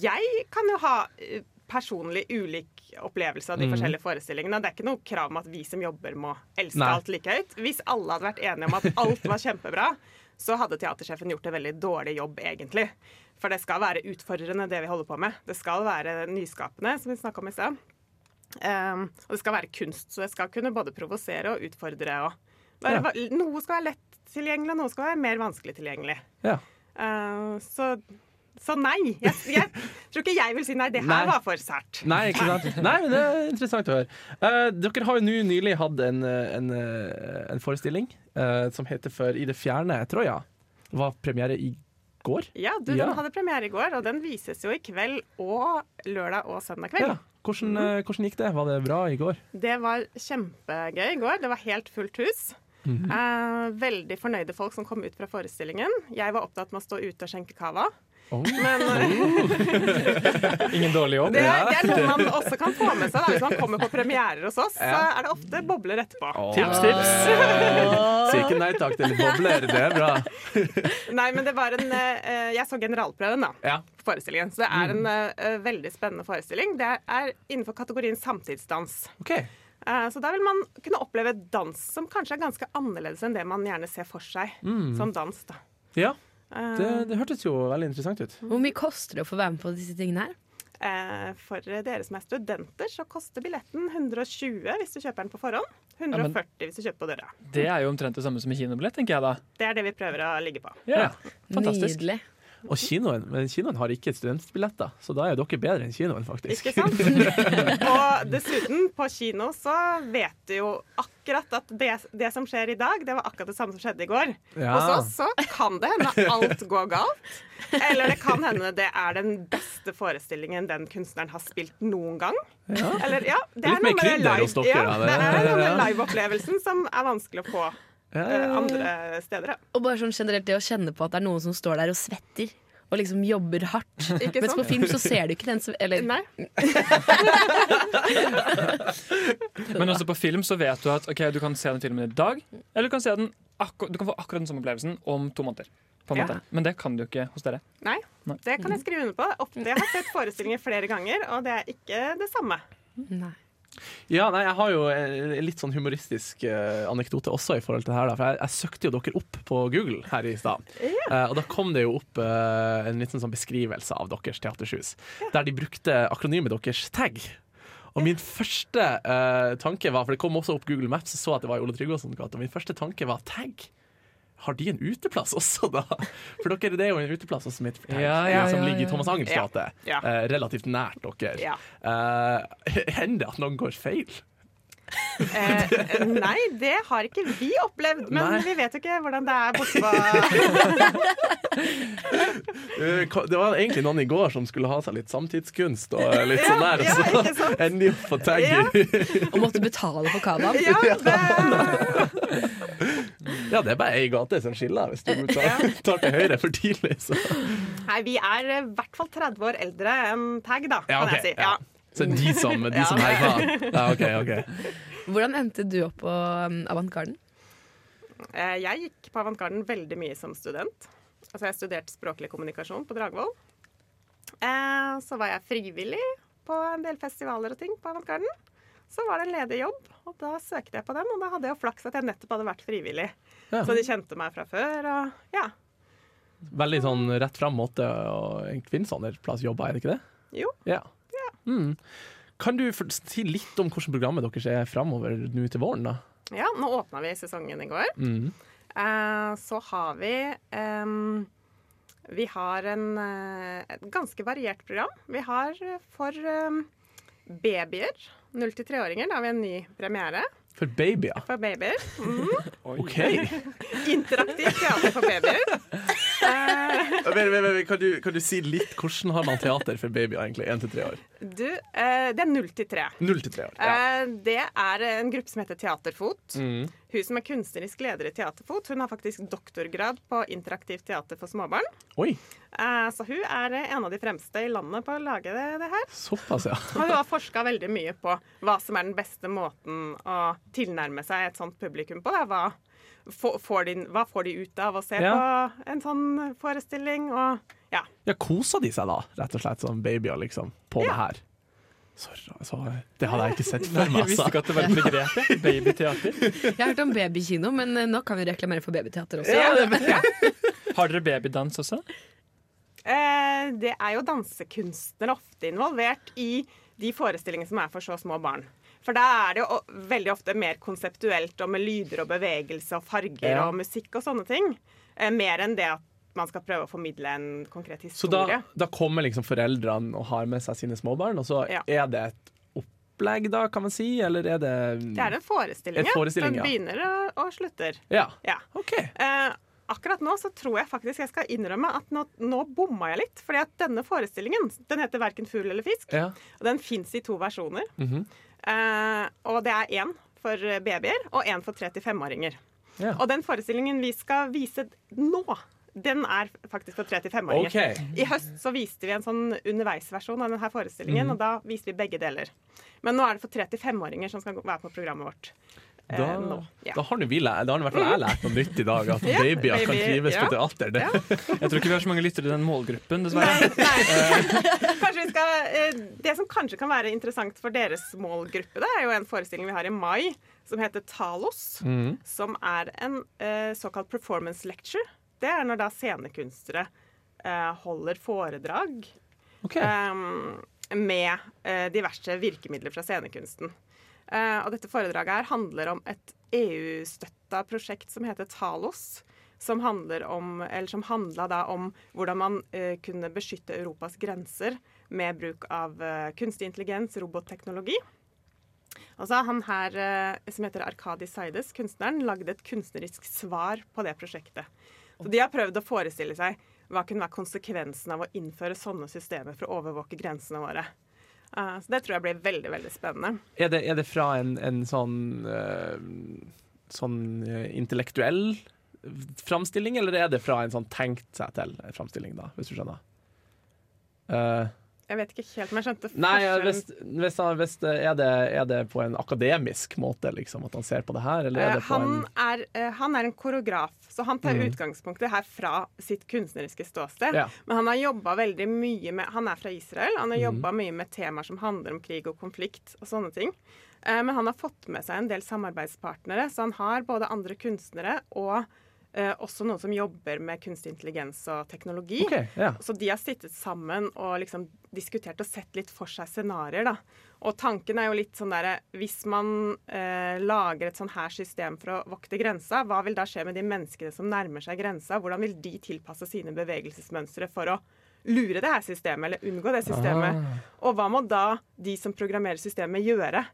jeg kan jo ha eh, personlig ulik opplevelse Mm. av de forskjellige forestillingene. Det er ikke noe krav om at vi som jobber må elske Nei. alt like høyt. Hvis alle hadde vært enige om at alt var kjempebra, så hadde teatersjefen gjort en veldig dårlig jobb, egentlig. For det skal være utfordrende, det vi holder på med. Det skal være nyskapende, som vi snakka om i sted. Um, og det skal være kunst, så det skal kunne både provosere og utfordre. Og Ja. være, va- Noe skal være lett tilgjengelig, og noe skal være mer vanskelig tilgjengelig. Ja. Eh, så, så nei. Jeg, jeg tror ikke jeg vil si nei. Det her Nei. var for sært. Nei, ikke sant? Nei, men det er interessant å høre. Eh, dere har jo nå nylig hatt en, eh, en, eh, en forestilling eh, som heter For i det fjerne Troja. Det var premiere i går. Ja, du, Ja. Den hadde premiere i går, og den vises jo i kveld og lørdag og søndag kveld. Ja. Hvordan, eh, hvordan gikk det? Var det bra i går? Det var kjempegøy i går. Det var helt fullt hus. Mhm. Eh, veldig fornøyde folk som kom ut fra forestillingen. Jeg var opptatt med å stå ute og skjenke cava. Oh. Men eh, Ingen dårlig jobb. det, er- det er noe man også kan få med seg. Da. Hvis man kommer på premierer hos oss, så er det ofte bobler etterpå. Tips, tips. Sier ikke nei takk til bobler, det er bra. Nei, men det var en eh, Jeg så generalprøven, da. Ja. på forestillingen. Så det er en eh, veldig spennende forestilling. Det er innenfor kategorien samtidsdans. Ok. Eh, så der vil man kunne oppleve dans som kanskje er ganske annerledes enn det man gjerne ser for seg som dans. Da. Ja, Eh, det, det hørtes jo veldig interessant ut. Hvor mye koster det å få være med på disse tingene her? eh, for dere som er studenter, så koster billetten 120 hvis du kjøper den på forhånd. men- 140 hvis du kjøper på døra. Det er jo omtrent det samme som en kinobillett, tenker jeg da. Det er det vi prøver å ligge på. Ja, fantastisk. Nydelig. Og kinoen, men kinoen har ikke studentbilletter, så da er dere bedre enn kinoen, faktisk. Ikke sant? Og dessuten, på kino så vet du jo akkurat at det, det som skjer i dag, det var akkurat det samme som skjedde i går. Ja. Hos oss så kan det hende alt går galt. Eller det kan hende det er den beste forestillingen den kunstneren har spilt noen gang. Eller, ja, det Litt er noe mer med det krydder hos live- dere, ja, da. det er noe med Ja. live-opplevelsen som er vanskelig å få Ja, eh, andre steder. da. Og bare sånn generelt det å kjenne på at det er noen som står der og svetter. Og liksom jobber hardt. Ikke Mens på sant? film så ser du ikke den som Eller Nei. Men også på film så vet du at ok, du kan se den filmen i dag, eller du kan, se den akkur du kan få akkurat den samme opplevelsen om to måneder. På en Ja. måte. Men det kan du ikke hos dere. Nei, Nei. det kan jeg skrive under på. Ofte jeg har sett forestillinger flere ganger, og det er ikke det samme. Nei. Ja, nei, jeg har jo en en litt sånn humoristisk eh, anekdote også i forhold til det her. Da, for jeg, jeg søkte jo dere opp på Google her i stad. Eh, og da kom det jo opp eh, en liten sånn beskrivelse av deres teatershus, der de brukte akronymet deres tag. Og min første eh, tanke var, for det kom også opp Google Maps, og så at det var i Ole Tryggvason gate, og min første tanke var tag. Har de en uteplass også, da? For dere, det er jo en uteplass også som heter Tag, Ja, ja, som ja, ligger i ja. Thomas Angers Ja. gate. Ja. eh, relativt nært dere. Ja. Eh, hender det at noen går feil? Eh, nei, det har ikke vi opplevd, men Nei. vi vet jo ikke hvordan det er borte på Eh, ka- Det var egentlig noen i går som skulle ha seg litt samtidskunst og eh, litt sånn der, ja, og så ikke sant? ender de opp på tagger. Og måtte betale for kavaen. Ja, det, Ja, det er bare ei gate som skiller hvis du tar, tar til høyre for tidlig. Så, Nei, vi er eh, i hvert fall 30 år eldre enn Tag, da, ja, kan ok, jeg si. ja. Ja. så de som, de Ja. som herfra. Ja, OK. ok Hvordan endte du opp på um, Avantgarden? Eh, Jeg gikk på Avantgarden veldig mye som student. Altså, jeg studerte språklig kommunikasjon på Dragvoll. Eh, Så var jeg frivillig på en del festivaler og ting på Avantgarden. Så var det en ledig jobb, og da søkte jeg på den. Og da hadde jeg jo flaks at jeg nettopp hadde vært frivillig. Ja. Så de kjente meg fra før, og ja. Veldig sånn rett fram måte og en kvinnsånderplass jobber, er det ikke det? Jo. Ja. Mm. Kan du for- si litt om hvordan programmet deres er framover nå til våren, da? Ja, nå åpna vi sesongen i går. Mm. Eh, så har vi ehm, Vi har en, eh, et ganske variert program. Vi har eh, for ehm, babyer, 0-3-åringer, da har vi en ny premiere For babyer? for babyer. OK. Interaktivt teater for babyer. Vent, vent, vent, Kan, du, kan du si litt hvordan har man teater for babyer, egentlig? 1 til 3 år? Du, eh, det er null til tre. 0 til 3 år. Ja. Mm. Eh, Det er en gruppe som heter Teaterfot. Hun som er kunstnerisk leder i Teaterfot, hun har faktisk doktorgrad på interaktivt teater for småbarn. Oi, Eh, Så hun er eh, en av de fremste i landet på å lage det, det her. såpass, ja. Og hun har forska veldig mye på hva som er den beste måten å tilnærme seg et sånt publikum på. Da. Hva, få- får de, hva får de ut av å se Ja. på en sånn forestilling? Og ja. Ja, Kosa de seg da, rett og slett, som babyer, liksom, på det her? Så, ra- så, det hadde jeg ikke sett for meg, Jeg visste altså. ikke at det var et begrep. jeg. Babyteater. Jeg har hørt om babykino, men eh, nå kan vi reklamere for babyteater også. Har dere babydans også? Eh, det er jo dansekunstnere ofte involvert i de forestillingene som er for så små barn. For da er det jo o- veldig ofte mer konseptuelt og med lyder og bevegelse og farger Ja. og musikk og sånne ting. Eh, mer enn det at man skal prøve å formidle en konkret Så historie. da, da kommer liksom foreldrene og har med seg sine småbarn, og så Ja. er det et opplegg, da, kan man si? Eller er det Det er en forestilling, En forestilling, Den ja. begynner og, og slutter. Ja. Ja. OK. Eh, akkurat nå så tror jeg faktisk jeg skal innrømme at nå, nå bomma jeg litt. fordi at denne forestillingen den heter verken fugl eller fisk. Ja. Og den fins i to versjoner. Mhm. eh, og det er én for babyer og én for 35-åringer. Ja. Og den forestillingen vi skal vise nå, den er faktisk for 35-åringer. OK. I høst så viste vi en sånn underveisversjon av denne Mhm. forestillingen, og da viste vi begge deler. Men nå er det for 35-åringer som skal gå- være på programmet vårt. eh, Da, nå. Ja. da har nå vi lært, da har nå i hvert fall jeg lært noe nytt i dag, at babyer kan baby, trives på ja. teater. Det. Jeg tror ikke vi har så mange lyttere i den målgruppen, Nei, dessverre. nei. Kanskje vi skal, eh, det som kanskje kan være interessant for deres målgruppe, det er jo en forestilling vi har i mai som heter Talos. Som er en eh, såkalt performance lecture. Det er når da scenekunstnere eh, holder foredrag Ok. eh, med eh, diverse virkemidler fra scenekunsten. Eh, og dette foredraget her handler om et EU-støtta prosjekt som heter Talos. Som, handler om, eller som handla da om hvordan man eh, kunne beskytte Europas grenser med bruk av eh, kunstig intelligens, robotteknologi. Og så har han her, eh, som heter Arkadi Saides, kunstneren, lagd et kunstnerisk svar på det prosjektet. Så de har prøvd å forestille seg hva kunne være konsekvensen av å innføre sånne systemer for å overvåke grensene våre. Eh, så det tror jeg blir veldig, veldig spennende. Er, det, er det fra en, en sånn eh, sånn eh, intellektuell framstilling, eller er det fra en sånn tenkt seg til framstilling, da, hvis du skjønner? Eh, Jeg vet ikke helt om jeg skjønte nei, ja, forskjellen. hvis, hvis, han- hvis det, er, det, er det på en akademisk måte, liksom, at han ser på det her, eller er Mhm. Eh, det på han, en er, eh, han er en koreograf, så han tar utgangspunktet her fra sitt kunstneriske ståsted. Ja. Men han har jobbet veldig mye med Han er fra Israel. Han har jobba mye med temaer som handler om krig og konflikt og sånne ting. Eh, Men han har fått med seg en del samarbeidspartnere, så han har både andre kunstnere og eh, også noen som jobber med kunstig intelligens og teknologi. OK, ja. Så de har sittet sammen og liksom diskutert og sett litt for seg scenarioer, da. Og tanken er jo litt sånn derre Hvis man eh, lager et sånn her system for å vokte grensa, hva vil da skje med de menneskene som nærmer seg grensa? Hvordan vil de tilpasse sine bevegelsesmønstre for å lure det her systemet, eller unngå det systemet? Og hva må da de som programmerer systemet, gjøre?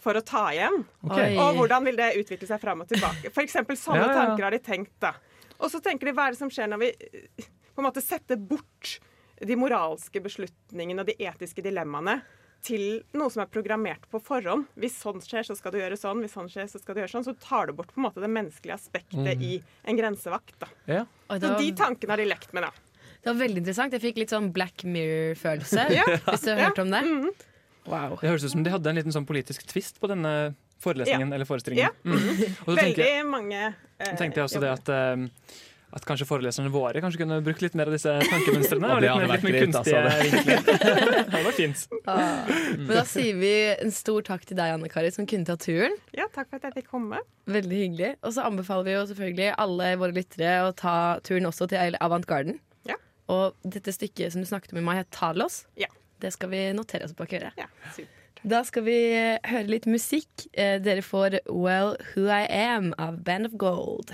For å ta igjen. Oi. Og hvordan vil det utvikle seg fram og tilbake? For eksempel sånne Ja, ja, ja. tanker har de tenkt, da. Og så tenker de hva er det som skjer når vi eh, på en måte setter bort de moralske beslutningene og de etiske dilemmaene til noe som er programmert på forhånd. Hvis sånn skjer, så skal du gjøre sånn. Hvis sånn skjer, så skal du gjøre sånn. Så tar du bort på en måte det menneskelige aspektet Mm. i en grensevakt. Da. ja. Oi, det, Så de var, tankene har de lekt med, da. det var veldig interessant. Jeg fikk litt sånn Black Mirror-følelse, Ja. Mm. hvis du har hørt om det. Wow. Det høres ut som de hadde en liten sånn politisk tvist på denne forelesningen eller forestillingen. Ja. Mm. Og så tenker Veldig jeg, mange eh, tenkte jeg også det jobber. at eh, at kanskje foreleserne våre kanskje kunne brukt litt mer av disse tankemønstrene. Og det litt hadde mer, litt vært mer greit, altså. kunstige vinkler. Det hadde vært fint. Ah. Men da sier vi en stor takk til deg, Anne-Kari, som kunne ta turen. Ja, takk for at jeg fikk komme. Veldig hyggelig. Og så anbefaler vi jo selvfølgelig alle våre lyttere å ta turen også til Avant Garden. Ja. Og dette stykket som du snakket om i mai, het Talos. Ja. Det skal vi notere oss bak øret. Ja, super. Da skal vi eh, høre litt musikk. Eh, Dere får Well Who I Am av Band of Gold.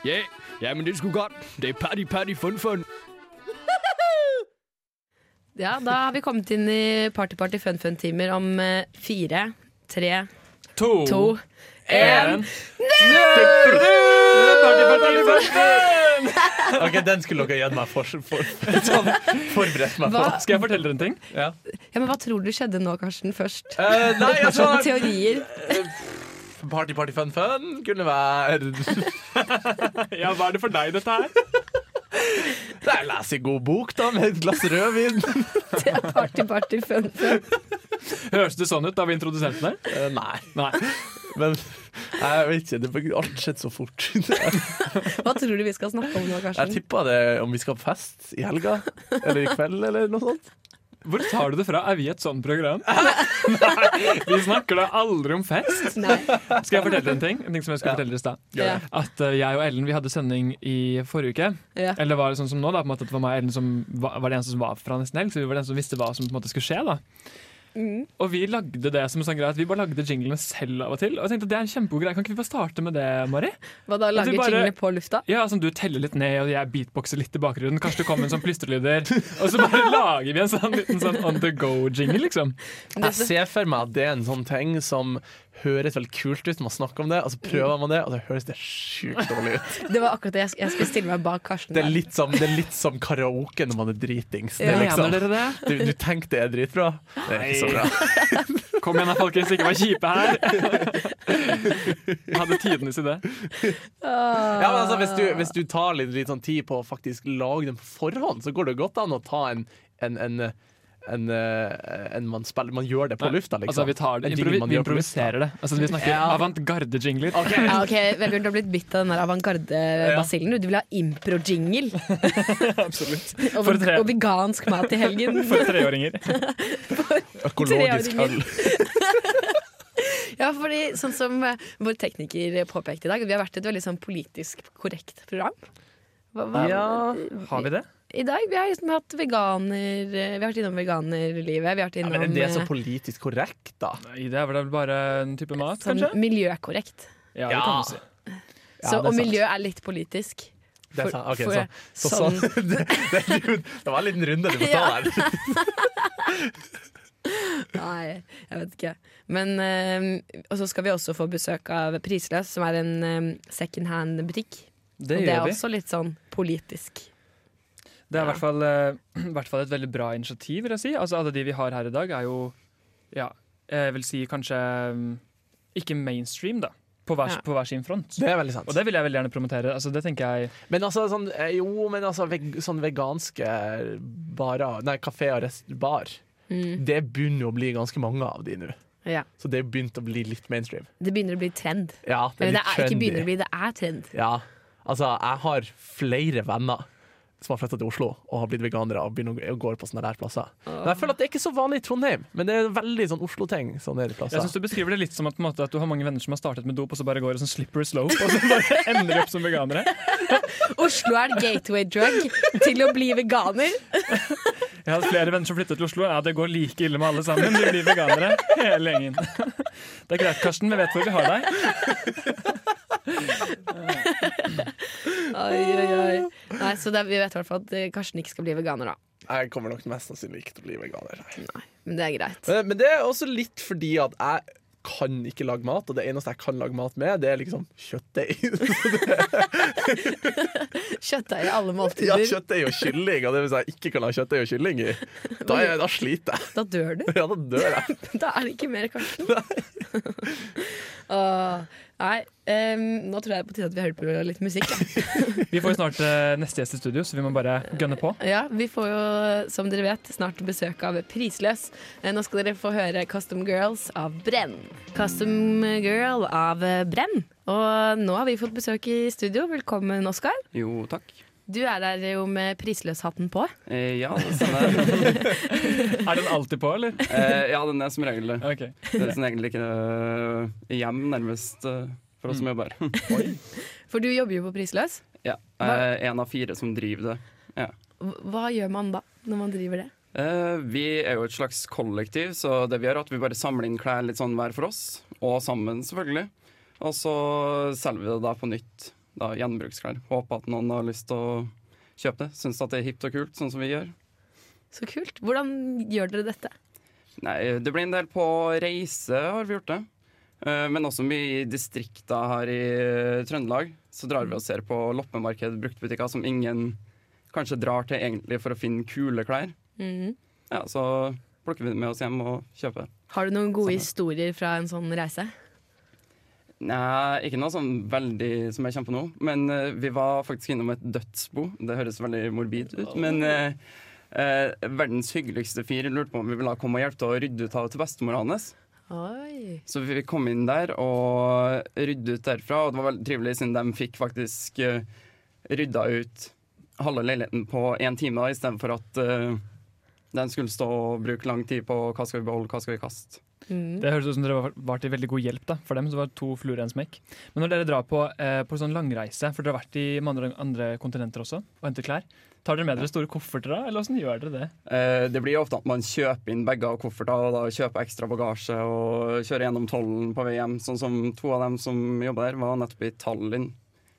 Ja, ja, men det skulle godt. Det er party, party, fun, fun. Ja, da har vi kommet inn i Party Party Fun Fun-timer om eh, fire, tre, to, en Ok, Den skulle dere gitt meg for, for, sånn, forberedt meg på. Hva? Skal jeg fortelle dere en ting? Ja. Ja, men Hva tror du skjedde nå, Karsten, først? Eh, nei, altså Sånn teorier. Party, party, fun, fun kunne være Ja, Hva er det for deg, dette her? Nei, Les en god bok, da, med et glass rødvin. Det er party, party, fun, fun. Høres det sånn ut da vi introduserte deg? Eh, nei. Nei. Men jeg vet ikke. Det har alt skjedd så fort. Jeg Hva tror du vi skal snakke om nå, Karsten? tippa det om vi skal på fest i helga eller i kveld eller noe sånt. Hvor tar du det fra? Er vi et sånt program? Nei, vi snakker da aldri om fest. Nei. Skal jeg fortelle dere en ting? En ting som jeg skulle Ja. fortelle dere i stad. Ja. At eh, jeg og Ellen vi hadde sending i forrige uke. Ja. Eller var det sånn som nå, da, på en måte at det var meg og Ellen som var, var det eneste som var fra Nesten Helg, så vi var den som visste hva som på en måte skulle skje. da. Mm. Og vi lagde det som en sånn greie at vi bare lagde jinglene selv av og til. Og jeg tenkte det er en kjempegod greie, Kan ikke vi bare starte med det, Mari? Hva da, du lage bare- jingle på lufta? Ja, sånn Du teller litt ned, og jeg beatboxer litt i bakgrunnen. Kanskje det kommer en sånn plystrelyder. Og så bare lager vi en sånn liten sånn on the go-jingle, liksom. Jeg ser for meg at det er en sånn ting som høres veldig kult ut. Man snakker om det, og så prøver man det, og så høres det sjukt dårlig ut. Det var akkurat det. Jeg- Jeg skulle stille meg bak Karsten. Det er der. litt som, det er litt som karaoke når man er dritings. Det er Mener liksom, dere det? du, du tenker det er dritbra. Det er ikke så bra. Kom igjen da, folkens, ikke vær kjipe her. Jeg hadde tidenes idé. Ja, men altså, hvis, du, hvis du tar litt, litt sånn tid på å faktisk lage den på forhånd, så går det godt an å ta en, en, en en, eh, en man, spiller, man gjør det på lufta, liksom. Altså, vi tar det. En jingle Improvi man vi gjør på improviserer det. Altså, vi snakker Ja. avantgarde-jingler. lufta. Ok. Ja, ok, Vebjørn, du har blitt bitt av den der avantgarde-basillen. du. Du vil ha impro-jingle. Og, For tre- og vegansk mat i helgen. For treåringer. Økologisk Treåringer. øl. Ja, fordi sånn som eh, vår tekniker påpekte i dag, vi har vært et veldig sånn politisk korrekt program. Hva, hva, Har vi det? I dag vi har liksom hatt veganer eh, Vi har vært innom veganerlivet. Vi har vært Ja, innom men er det så eh, politisk korrekt, da? Nei, det er vel bare en type mat, sånn kanskje? miljøkorrekt. Ja. Ja, det kan man si. Så, det er og sant. miljø er litt politisk. Det, er sant. Ok, for- så, så, sånn- sånn. det, det, er jo- det var en liten runde du må ta Ja. der. Nei, jeg vet ikke. Men, eh, og så skal vi også få besøk av Prisløs, som er en eh, second hand-butikk. og Det det gjør er vi. også litt sånn politisk. Det er i hvert fall, eh, i hvert fall et veldig bra initiativ, vil jeg si. Altså, alle de vi har her i dag, er jo ja, jeg vil si kanskje mm, ikke mainstream, da. På hver, Ja. på hver sin front. Det er veldig sant. Og det vil jeg veldig gjerne promotere. Altså, det tenker jeg Men altså, sånn, eh, jo, men altså veg, sånn veganske barer Nei, kafé og rest, bar. Mm. Det begynner å bli ganske mange av de nå. Ja. Så det er begynt å bli litt mainstream. Det begynner å bli trend. Ja, det er Eller litt det er, ikke trendy. begynner å bli, det er trend. Ja. Altså, jeg har flere venner som har flytta til Oslo og har blitt veganere og begynner å gå på sånne der plasser. Men jeg føler at det er ikke så vanlig i Trondheim, men det er veldig sånn Oslo-ting. Sånne der Jeg plasser. synes Du beskriver det litt som at, på en måte, at du har mange venner som har startet med dop, og så bare går i sånn slippery slope, og så bare ender de opp som veganere. Oslo er et gateway drug til å bli veganer. Jeg har flere venner som flyttet til Oslo. Ja, Det går like ille med alle sammen. De blir veganere, hele gjengen. Det er greit, Karsten. Vi vet hvor vi har deg. Oi, oi, oi. Nei, så det, er- vi vet i hvert fall at eh, Karsten ikke skal bli veganer, da. Jeg kommer nok mest sannsynlig ikke til å bli veganer. Men det er greit. Eh, Men, men det er også litt fordi at jeg kan ikke lage mat, og det eneste jeg kan lage mat med, det er liksom kjøttdeig. Kjøttdeig i alle Ja, måltider. kjøttdeig og kylling, og det hvis jeg ikke kan ha kjøttdeig og kylling i, da, er, da sliter jeg. Da dør du. Ja, da dør jeg. Da er det ikke mer Karsten. Åh, nei, em, nå tror jeg det er på tide at vi hører på litt musikk. da. Vi får jo snart eh, neste gjest i studio, så vi må bare gønne på. Ja, vi får jo, som dere vet, snart besøk av Prisløs. Eh, Nå skal dere få høre Custom Girls av Brenn. Custom Girl av eh, Brenn. Og nå har vi fått besøk i studio. Velkommen, Oskar. Jo, takk. Du er der jo med prisløshatten på. Eh, ja, det stemmer. Er den alltid på, eller? Eh, ja, den er som regel det. Ok. Det er som regel ikke eh, hjem, nærmest, eh, for Mm. oss som jobber. For du jobber jo på Prisløs. ja. eh, en av fire som driver det. Hv- Hva gjør man da, når man driver det? Eh, vi er jo et slags kollektiv, så det vi gjør er at vi bare samler inn klær litt sånn hver for oss, og sammen selvfølgelig. Og så selger vi det da på nytt, da gjenbruksklær. Håper at noen har lyst til å kjøpe det. Syns at det er hipt og kult, sånn som vi gjør. Så kult. Hvordan gjør dere dette? Nei, det blir en del på reise, har vi gjort det. Eh, Men også mye i distrikta her i eh, Trøndelag. Så drar vi og ser på loppemarked, bruktbutikker som ingen kanskje drar til egentlig for å finne kule klær. Mhm. Ja, så plukker vi det med oss hjem og kjøper. Har du noen gode historier fra en sånn reise? Nei, ikke noe sånn veldig som jeg kjenner på nå. Men eh, vi var faktisk innom et dødsbo. Det høres veldig morbid ut. Men eh, eh, verdens hyggeligste fyr lurte på om vi ville komme og hjelpe til å rydde ut havet til bestemora hans. Oi. Så vi kom inn der og rydde ut derfra, og det var veldig trivelig siden de fikk faktisk eh, rydda ut halve leiligheten på én time, da, istedenfor at eh, de skulle stå og bruke lang tid på hva skal vi beholde, hva skal vi kaste. Mhm. Det høres ut som dere var- var til veldig god hjelp da, for dem. Så var det to fluer i en smekk. Men når dere drar på, eh, på sånn langreise, for dere har vært i mange andre, andre kontinenter også og hentet klær, tar dere med dere store kofferter da, eller åssen gjør dere det? Eh, det blir ofte at man kjøper inn bager og kofferter og da kjøper ekstra bagasje og kjører gjennom tollen på vei hjem, sånn som to av dem som jobber der, var nettopp i Tallinn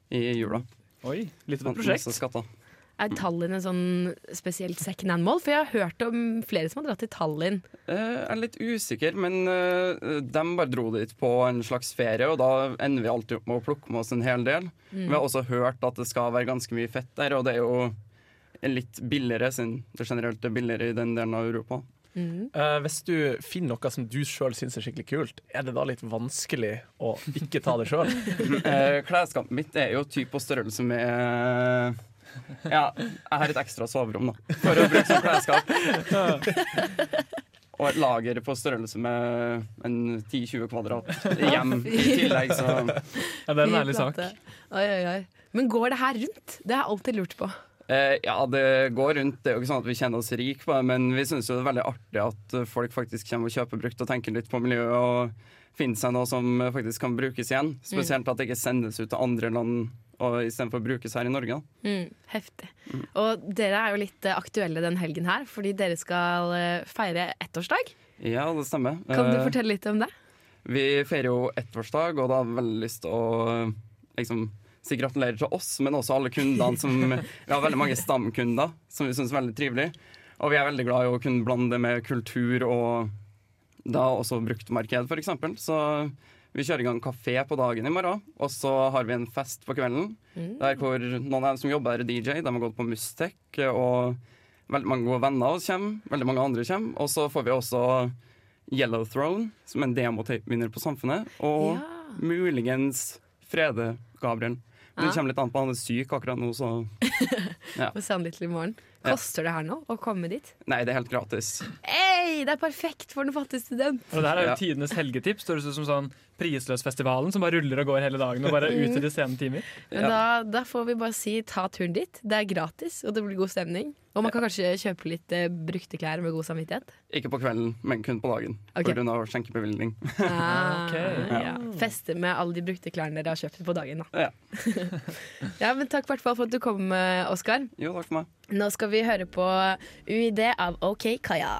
i jula. Oi, litt av et Fant prosjekt. masse skatter. Er Tallinn en sånn spesielt second hand-mål? For jeg har hørt om flere som har dratt til Tallinn. Eh, Jeg er litt usikker, men eh, de bare dro dit på en slags ferie, og da ender vi alltid opp med å plukke med oss en hel del. Vi har også hørt at det skal være ganske mye fett der, og det er jo litt billigere, siden det generelt er billigere i den delen av Europa. Mm. Eh, hvis du finner noe som du sjøl syns er skikkelig kult, er det da litt vanskelig å ikke ta det sjøl? Eh, Klesskapet mitt er jo typ på størrelse med Ja, jeg har et ekstra soverom, da, for å bruke som klesskap. Og et lager på størrelse med en 10-20 kvadrat hjem i tillegg, så Ja, det er en Mye ærlig sak. plate. Oi, oi, oi. Men går det her rundt? Det har jeg alltid lurt på. Eh, ja, det går rundt. Det er jo ikke sånn at vi kjenner oss rik på det, men vi syns jo det er veldig artig at eh, folk faktisk kommer og kjøper brukt og tenker litt på miljøet og finner seg noe som eh, faktisk kan brukes igjen. Mm. Spesielt at det ikke sendes ut til andre land og istedenfor brukes her i Norge. da. Mm. Heftig. Mm. Og dere er jo litt eh, aktuelle den helgen her, fordi dere skal eh, feire ettårsdag. Ja, det stemmer. Kan du Eh, fortelle litt om det? vi feirer jo ettårsdag, og da har vi veldig lyst til å eh, liksom si gratulerer til oss, men også alle kundene som Vi har veldig mange stamkunder som vi syns er veldig trivelig. Og vi er veldig glad i å kunne blande det med kultur og da også bruktmarked, f.eks. Så vi kjører i gang kafé på dagen i morgen, og så har vi en fest på kvelden. Der hvor noen av dem som jobber her, er DJ. De har gått på Mustek, og veldig mange gode venner av oss kommer. Veldig mange andre kommer. Og så får vi også Yellow Throne, som er en demotøyvinner på Samfunnet. Og Ja. muligens Frede Gabriel. Men det kommer litt an på, han er syk akkurat nå, så På Sandlittle i morgen. Ja. Koster det her nå å komme dit? Nei, det er helt gratis. Ei, det er perfekt for den fattige student! Og det her er jo Ja. tidenes helgetips. Det høres ut som sånn Prisløsfestivalen som bare ruller og går hele dagen og bare er ute i de sene timer. Men da, da får vi bare si ta turen dit. Det er gratis, og det blir god stemning. Og man kan kanskje kjøpe litt eh, brukte klær med god samvittighet. Ikke på kvelden, men kun på dagen. Ok. På grunn av skjenkebevilgning. Ah, Ok. ja. Feste med alle de brukte klærne dere har kjøpt på dagen. Da. Ja. ja, men Takk i hvert fall for at du kom, eh, Oskar. Jo, takk for meg. Nå skal vi høre på UiD av OK Kaya.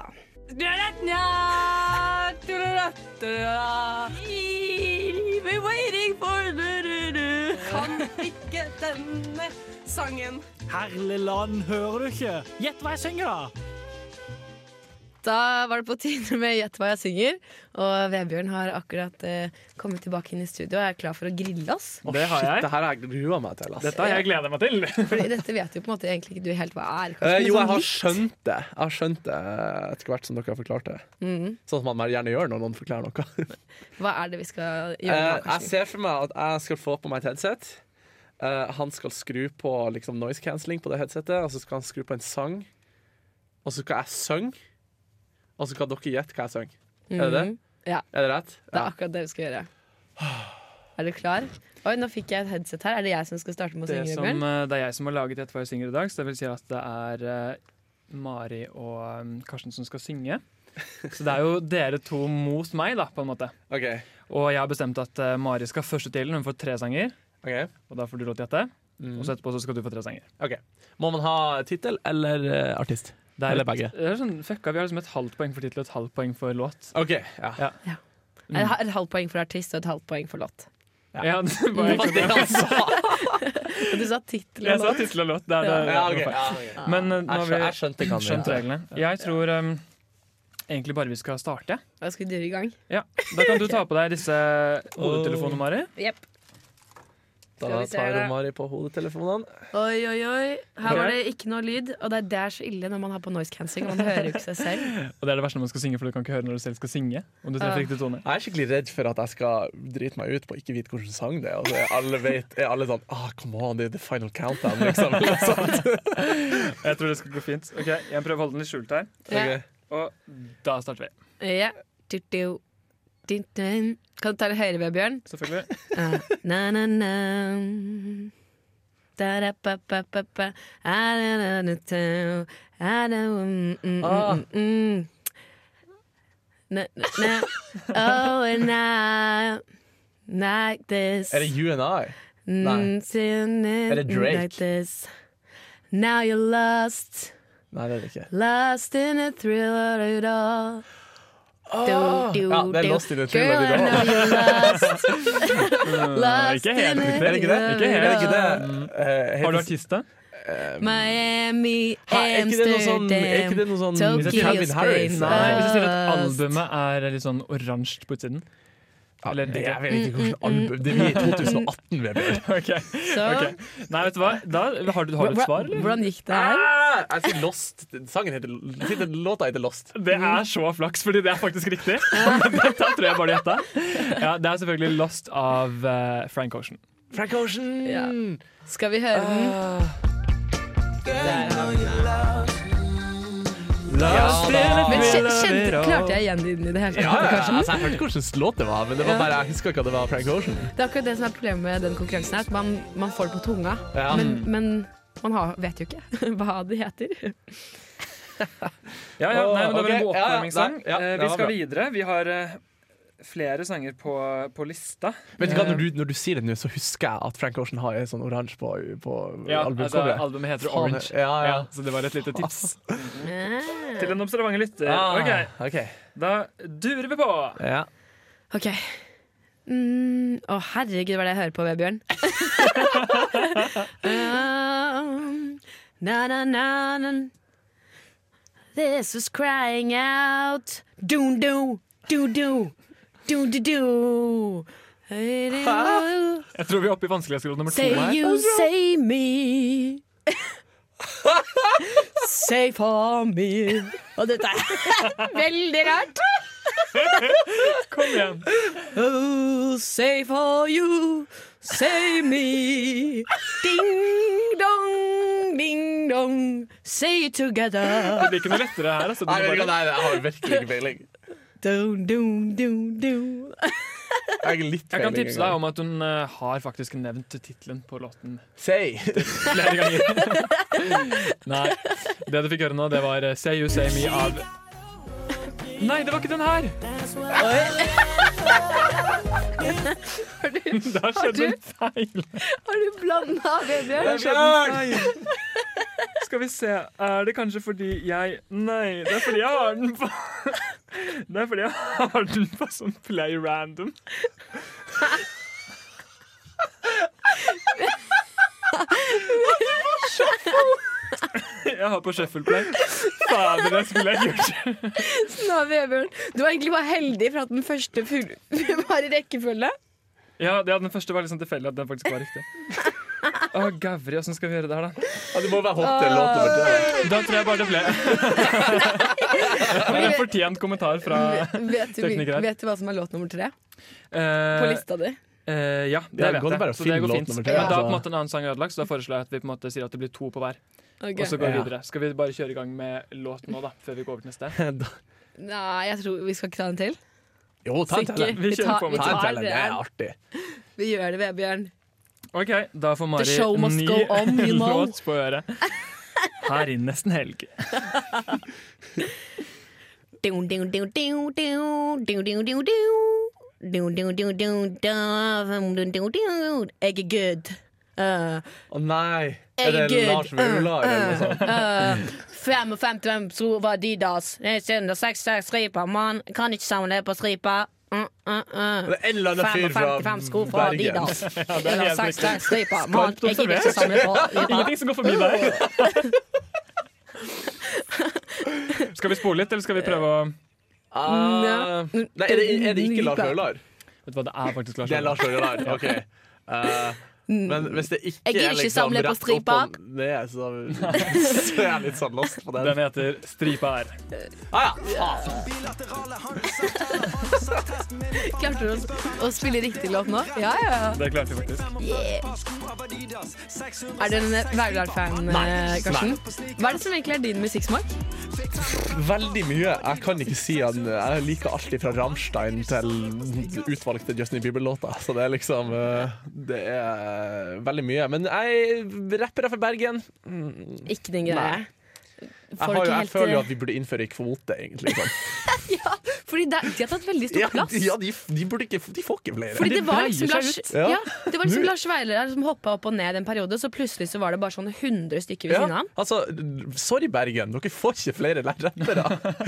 Da var det på tide med Gjett hva jeg synger. Og Vebjørn har akkurat eh, kommet tilbake inn i studio og er klar for å grille oss. Å, Det har shit, jeg. Det her har jeg grua meg til. ass. Dette har jeg gleda meg til. Fordi dette vet jo på en måte egentlig ikke du helt hva er. Eh, kanskje, men jo, jeg sånn har litt. skjønt det Jeg har skjønt det etter hvert som dere har forklart det. Sånn som man gjerne gjør når noen forklarer noe. Hva er det vi skal gjøre Eh, nå? jeg Karsten? ser for meg at jeg skal få på meg et headset. Eh, han skal skru på liksom, noise cancelling på det headsetet, og så skal han skru på en sang. Og så skal jeg synge, og så skal dere gjette hva jeg synger. Er det det? Mhm. Ja. Er det rett? Det er akkurat det vi skal gjøre. Er du klar? Oi, nå fikk jeg et headset her. Er det jeg som skal starte med å Det, synge, som, Vebjørn? eh, det er jeg som har laget Gjett hva jeg synger i dag, så det vil si at det er eh, Mari og eh, Karsten som skal synge. Så det er jo dere to mot meg, da, på en måte. OK. Og jeg har bestemt at eh, Mari skal først ut til. Hun får tre sanger, ok. og da får du lov til å gjette. Mm. Og så etterpå så skal du få tre sanger. Ok. Må man ha tittel eller eh, artist? Det Eller et- begge. Det er sånn, fucka, vi har liksom et halvt poeng for tittel og et halvt poeng for låt. OK. Ja. Ja. Jeg har Et halvt poeng for artist og et halvt poeng for låt. Ja. det var Det var egentlig det det. han sa! Og du sa tittel Jeg og sa låt. tittel og låt. Det er det. Ja, ok, det er ja, feil. ok. Men eh, nå Jeg har skjø- vi jeg skjønte hva han skjønt mente. reglene. Jeg tror um, egentlig bare vi skal starte. Da skal vi dure i gang. Ja, Da kan du ta på deg disse hodetelefonene, Mari. Jepp. Skal Da vi se tar her, da. Mari på hodetelefonene. Oi, oi, oi. Ok. Her var det ikke noe lyd, og det er der så ille når man har på noise cancelling. Man hører jo ikke seg selv. Og det er det verste når man skal synge, for du kan ikke høre når du selv skal synge. Om du treffer Ja. riktig tone. Jeg er skikkelig redd for at jeg skal drite meg ut på å ikke vite hvilken sang det er. Og så er alle, vet, er alle sånn ah, Come on, det er the final countdown, liksom. Eller noe sånt. Jeg tror det skal gå fint. Ok, Jeg prøver å holde den litt skjult her. Ja. Ok. Og da starter vi. Ja. Tutu. Tutu. Kan du ta det høyere ved, Bjørn? Selvfølgelig. Ah. Na, na, na. Da, da, pa, pa, pa, pa. Ah, da, da, da, da. Ah, da, mm, mm, Ah. mm, mm. Na, na, na. Oh, and I like this. Er det You and I? Nei. Er det Drake? Like this. Now you're lost, Nei, det er det ikke. lost in the thrill of it all. Ah! Do, do, Ja, det er do. Lost in the Thrill Girl, of It I All. know you're lost. lost ikke helt in riktig. the Er det ikke det? thrill Ikke of helt. Er it det ikke det? all. Eh, Har du heter- artist, da? Miami, Hæ, er ikke det noe sånn, er ikke Amsterdam, det noe sånn Tokyo, Calvin Harris? Spain. Nei, Eh, Hvis jeg sier at Lost. albumet er litt sånn oransje på utsiden. Eller det, jeg ikke. vet ikke hvilken album Det blir 2018, Vebjørn. Ok, Så ok. Nei, vet du hva? Da, har, du, har du et svar, eller? Hvordan gikk det her? Ah, jeg sier Lost. Sangen heter, tittel- låta heter Lost. Det er så flaks, fordi det er faktisk riktig. Men Dette tror jeg bare gjetta. Ja, det er selvfølgelig Lost av eh, Frank Ocean. Frank Ocean! Ja. Skal vi høre den? Ah. Lost da. Men in kje- a kjente, mirror. klarte jeg igjen lyden i det hele Ja, tatt? ja, Karsten? altså, jeg hørte hvordan låt det var, men det var bare, jeg husker ikke at det var Frank Ocean. Det er akkurat det som er problemet med den konkurransen her. At man, man får det på tunga, Ja. men, men man har, vet jo ikke hva det heter. Ja, ja, nei, men Ok, det var en ja, ja, våtvarmingssang. der, ja, Eh, det vi var skal bra. videre. Vi har eh, flere sanger på, på lista. Vet du hva, når du, når du sier det nå, så husker jeg at Frank Ocean har en sånn oransje på, på Ja, altså, albumcoveret. albumet heter Faen, Orange. Ja, ja. Ja, så det var et lite tips Ah. til en observant lytter. Ah, Ok, ok. Da durer vi på. Ja. OK. Mm, å, herregud, hva er det jeg hører på, Vebjørn? um, na, na, na, na. This is crying out. Doon, do, do, do. Doon, do, do. Jeg tror vi er oppe i vanskelighetsgrad nummer to Say her. you, say me. say for me. Og dette er veldig rart. Kom igjen. Oh, say for you, say me. Ding dong, ding dong, say it together. Det blir ikke noe lettere her. Altså. Du Nei, vet må du hva, bare... nei, jeg har virkelig ikke peiling. Dum, dum, dum, dum. Jeg har litt Jeg kan peiling tipse engang. deg om at hun eh, har faktisk nevnt tittelen på låten Say! flere ganger. Nei. Det du fikk høre nå, det var eh, Say You Say Me av Nei, det var ikke den her! Det har skjedd en feil. Har du blanda, Vebjørn? Skal vi se. Er det kanskje fordi jeg Nei, det er fordi jeg har den på Det er fordi jeg har den på sånn play random. Jeg har på shuffle play. Fader, det skulle jeg gjort. Nå, Vebjørn. Du var egentlig bare heldig for at den første ful- var i rekkefølge. Ja, det, ja, Den første var liksom tilfeldig at den faktisk var riktig. Å, Gavri, åssen skal vi gjøre det her, da? Ja, det må være hopp til låt nummer tre. Da tror jeg bare det ble En fortjent kommentar fra eh, Vet du, Tekniker her. vet du hva som er låt nummer tre på eh, lista di? Eh, ja, det Ja, vet gå jeg. bare og så det finn går låt fint. nummer tre, Ja. Da altså. er på en måte en annen sang ødelagt, så da foreslår jeg at vi på en måte sier at det blir to på hver. Ok. Og så går vi Ja. videre. Skal vi bare kjøre i gang med låt nå, da? Før vi går over til neste? Nei, jeg tror vi skal ikke ta den til. Jo, ta en til. Sikker. den. Vi Vi kjører tar, på med vi Ta en tar til, den. det er den. artig. Vi gjør det, Vebjørn. OK, da får Mari The show must ny go on, you know. låt på øret. Her inn nesten helg. Dun, dun, dun, dun, dun. Dun, dun, dun, dun. Dun, dun, dun, dun, da. Dun, dun, dun, dun. Jeg er good. Uh, Å nei! jeg er Er det good. Lars Vaular eller noe sånt? Uh, 55 tror var Adidas. Det er synd, og 66 striper. Man kan ikke savne det på stripa. Mm, mm, mm. Det er en eller annen fyr fra 55 sko fra Bergen. Adidas. det er Eller helt 66 riktig. striper. Man Skarpt jeg gidder ikke observert. savne det på stripa. Ingenting som går forbi deg. Skal vi spole litt, eller skal vi prøve å Ah, Nei. nei, er det, er det ikke Lars Vaular? Vet du hva, det er faktisk Lars Det er Vaular. Lars Vaular, OK. Eh, men hvis det Jeg ikke gidder er ikke liksom samle på rett opp stripa. og ned, så, så er jeg litt sånn lost på den. Den heter Stripa R. Ah, ja. faen. Klarte du å, å spille riktig låt nå? Ja, ja. ja. Det klarte vi faktisk. Er du en Vaular-fan, eh, Karsten? Hva er det som egentlig er din musikksmak? Veldig mye. Jeg kan ikke si at jeg liker alt fra Rammstein til utvalgte Justin Bieber-låter. Så det er liksom eh, Det er veldig mye. Men jeg rapper fra Bergen. Ikke din greie. Nei. Jeg, har jo, jeg føler jo at vi burde innføre kvote, egentlig. Sånn. eh, ja, Fordi det, de har tatt veldig stor Ja, plass. de, ja, de, de burde ikke De får ikke flere. Fordi de det var breier liksom seg Lars, Ja. ja, det var liksom Nå- Lars Veiler her som hoppa opp og ned en periode, så plutselig så var det bare sånn 100 stykker ved Ja, siden av ham. altså, sorry, Bergen. Dere får ikke flere rappere. Det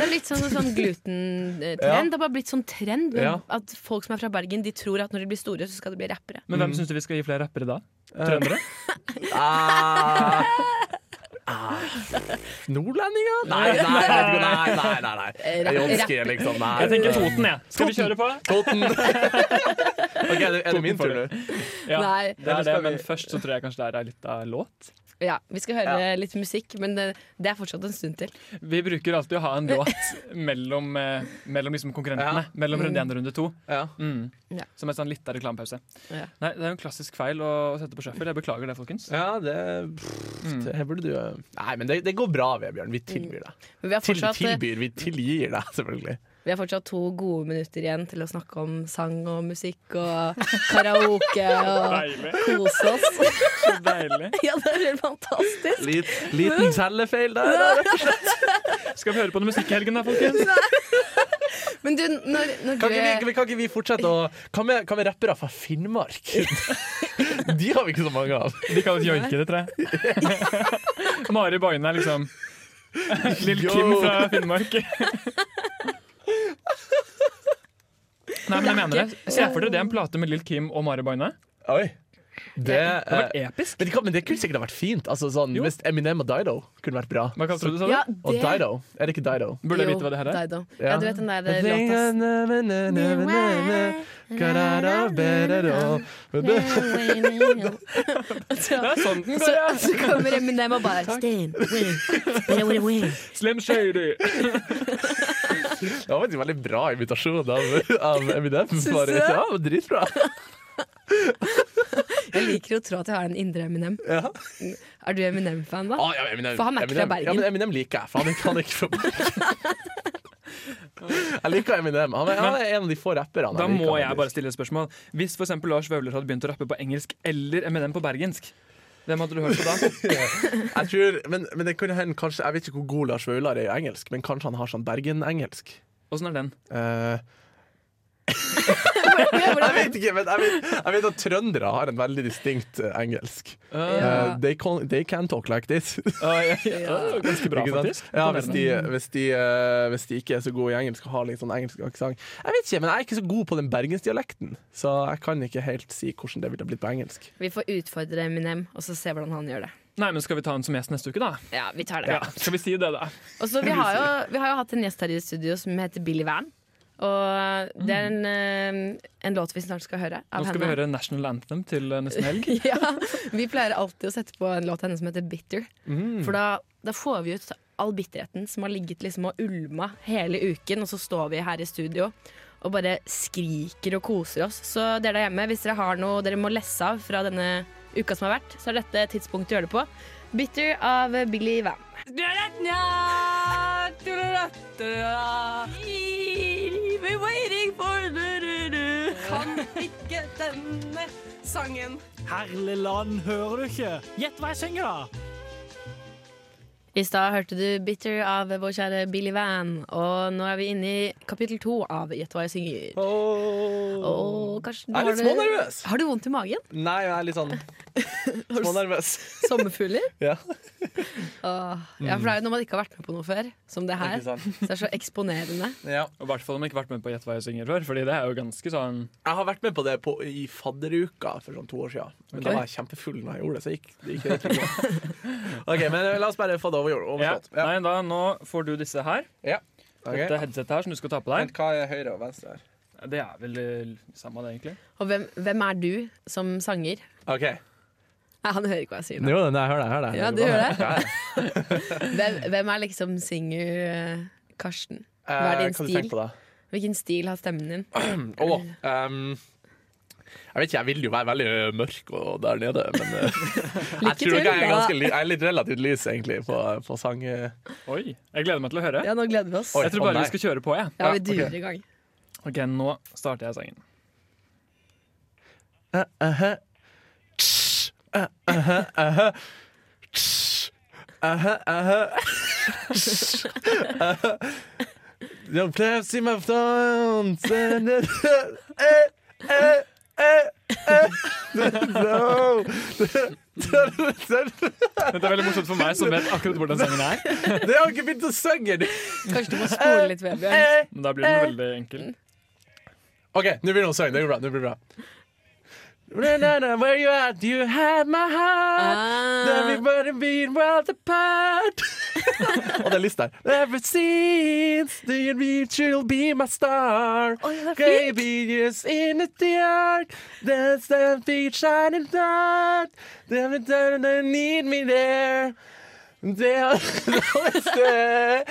er litt sånn, sånn glutentrend. Ja. Det har bare blitt sånn trend Ja. at folk som er fra Bergen, de tror at når de blir store, så skal de bli rappere. Men hvem syns du vi skal gi flere rappere da? Trøndere? Ah. Ah. Nordlendinger? Nei, nei, nei. nei, nei, nei, nei, Eh, nei. Jonske, liksom. Nei. Jeg tenker Toten, jeg. Skal vi kjøre på? Toten. Ok, er det, er det min tur nå? Ja, Nei. det er det, men først så tror jeg kanskje det er litt av låt. Ja, Vi skal høre litt musikk, men det, det er fortsatt en stund til. Vi bruker alltid å ha en låt mellom, eh, mellom liksom konkurrentene. Ja. Mellom runde én og runde to. Ja. Mm. Ja. Som en sånn litt av reklamepause. Ja. Nei, det er jo en klassisk feil å sette på shuffle. Jeg beklager det, folkens. ja, det pff, Mm. Det her burde du eh, Nei, men det, det går bra, Vebjørn. Vi tilbyr deg. Men vi har Til, fortsatt, eh, tilbyr, vi tilgir deg, selvfølgelig. vi har fortsatt to gode minutter igjen til å snakke om sang og musikk og karaoke og Deilig. kose oss. Så deilig. Ja, det er helt fantastisk. Litt, liten tellefeil der. da. Skal vi høre på noe musikk i helgen, da, folkens? Men du, når, når Kan ikke, du vi, kan ikke vi fortsette å Hva med, hva med rappere fra Finnmark? De har vi ikke så mange av. De kalles joikere, tror jeg. Mari Boine er liksom Lill Yo. Kim fra Finnmark. Nei, men jeg mener det. Se for dere det er en plate med Lill Kim og Mari Boine. Oi. Det, Det hadde vært eh, episk. men, det kan- men det kunne sikkert ha vært fint. Altså, sånn, Jo. hvis Eminem og Dido kunne vært bra. Hva kalte du det? sa du? Ja, Og det Dido. Er det ikke Dido? Burde jeg Jo, vite hva det her er? Dido. Ja, du vet den der eh, I think I låta na- na- na- na- na- na- Garara, berero. Men det- Så, Det er sånn den så, går, ja. så kommer Eminem og bare Stein, win, win, win. Slim Shady. Det var faktisk en veldig bra imitasjon av, av Eminem. Syns du Bare, det? ja, men dritbra. Jeg liker å tro at jeg har en indre Eminem. Ja. Er du Eminem-fan, da? Ah, ja, Eminem, For han er ikke fra Eminem- Bergen. Ja, men Eminem liker jeg, for han er, han er ikke fra Bergen. Jeg liker Eminem. Han er, han er en av de få rapperne jeg Da liker, må jeg faktisk. bare stille et spørsmål. Hvis for eksempel Lars Vaular hadde begynt å rappe på engelsk eller Eminem på bergensk, hvem hadde du hørt på da? jeg tror, men, men det kunne hende kanskje Jeg vet ikke hvor god Lars Vaular er i engelsk, men kanskje han har sånn Bergen-engelsk. Åssen er den? Eh, Hvordan- jeg vet ikke, men jeg vet, jeg vet at trøndere har en veldig distinkt eh, engelsk. Ja. Eh, they, can, they can talk like this. Ah, ja, ja, ja. Ganske bra, Ikke sant? faktisk. Ja, hvis de, hvis, de, eh, hvis de ikke er så gode i engelsk og har litt sånn engelsk aksent. Jeg vet ikke, men jeg er ikke så god på den bergensdialekten, så jeg kan ikke helt si hvordan det ville blitt på engelsk. Vi får utfordre Eminem, og så se hvordan han gjør det. Nei, men Skal vi ta han som gjest neste uke, da? Ja, vi tar det. Ja, skal vi si det, da? Og så vi, har jo, vi har jo hatt en gjest her i studio som heter Billy Van. Og det er en, eh, en låt vi snart skal høre av Nå skal vi henne. høre National Anthem til eh, nesten helg. ja, vi pleier alltid å sette på en låt av henne som heter Bitter. Mm. For da, da får vi ut all bitterheten som har ligget liksom og ulma hele uken, og så står vi her i studio og bare skriker og koser oss. Så dere der hjemme, hvis dere har noe dere må lesse av fra denne uka som har vært, så er dette tidspunktet å gjøre det på. Bitter av Billy Van. Kan ikke denne sangen. I stad hørte du 'Bitter' av vår kjære Billy Van. Og nå er vi inne i kapittel to av 'Gjett hva jeg synger'. Og Karsten, Jeg er litt har du- smånervøs. Har du vondt i magen? Nei, jeg er litt sånn smånervøs. Sommerfugler? Ja. Åh, ja, for det er jo når man ikke har vært med på noe før, som det her. Ikke sant? Så det er så eksponerende. Ja. Og I hvert fall om jeg ikke har vært med på Gjett hva jeg synger før. Fordi det er jo ganske sånn Jeg har vært med på det på, i fadderuka for sånn to år siden. Men da Ok. var jeg kjempefull når jeg gjorde det, så gikk, det gikk helt bra. OK, men eh, la oss bare få det over, ja. overstått. Ja. Nei, da, Nå får du disse her. Ja. Ok. Dette headsetet her som du skal ta på deg. hva er høyre og venstre her? Det er vel eh, samme det, egentlig. Og hvem, hvem er du som sanger? OK. Nei, han hører ikke hva jeg sier. nå. Jo, nei, hør det. Hør det. Ja, du gjør det? Hvem, hvem er liksom singer eh, Karsten? Hva er din kan du stil? tenke på da? Hvilken stil har stemmen din? Åh, ehm, jeg vet ikke, jeg vil jo være veldig ø, mørk og der nede, men ø, jeg tror nok jeg er, da. ganske, li- jeg er litt relativt lys, egentlig, på, på sang. eh. ø. Oi, jeg gleder meg til å høre. Ja, nå gleder vi oss. Oi. Jeg tror å bare nei. vi skal kjøre på, jeg. Ja, vi Ja, durer ok. i gang. Ok, nå starter jeg sangen. Eh, eh, eh. Tss, eh, eh, eh, eh. Tss, eh, eh, eh. Tss, eh, eh. Don't clap, see my thorns and- eh, eh, eh, eh, eh. No. Dette er veldig morsomt for meg som vet akkurat hvordan sangen er. Det har ikke begynt å synge! du. Kanskje du må spole litt, Vebjørn. Eh. Men da blir den veldig enkel. Ok, nå begynner hun å synge. Det går bra. Det blir bra. Na, na, na, Where you at? You had my heart. Ah, Everybody been world apart. Og det er lyst der. Ever since do you reach you'll be my star. Baby is in the dark. That's the big shining light. They don't need me there. They always there.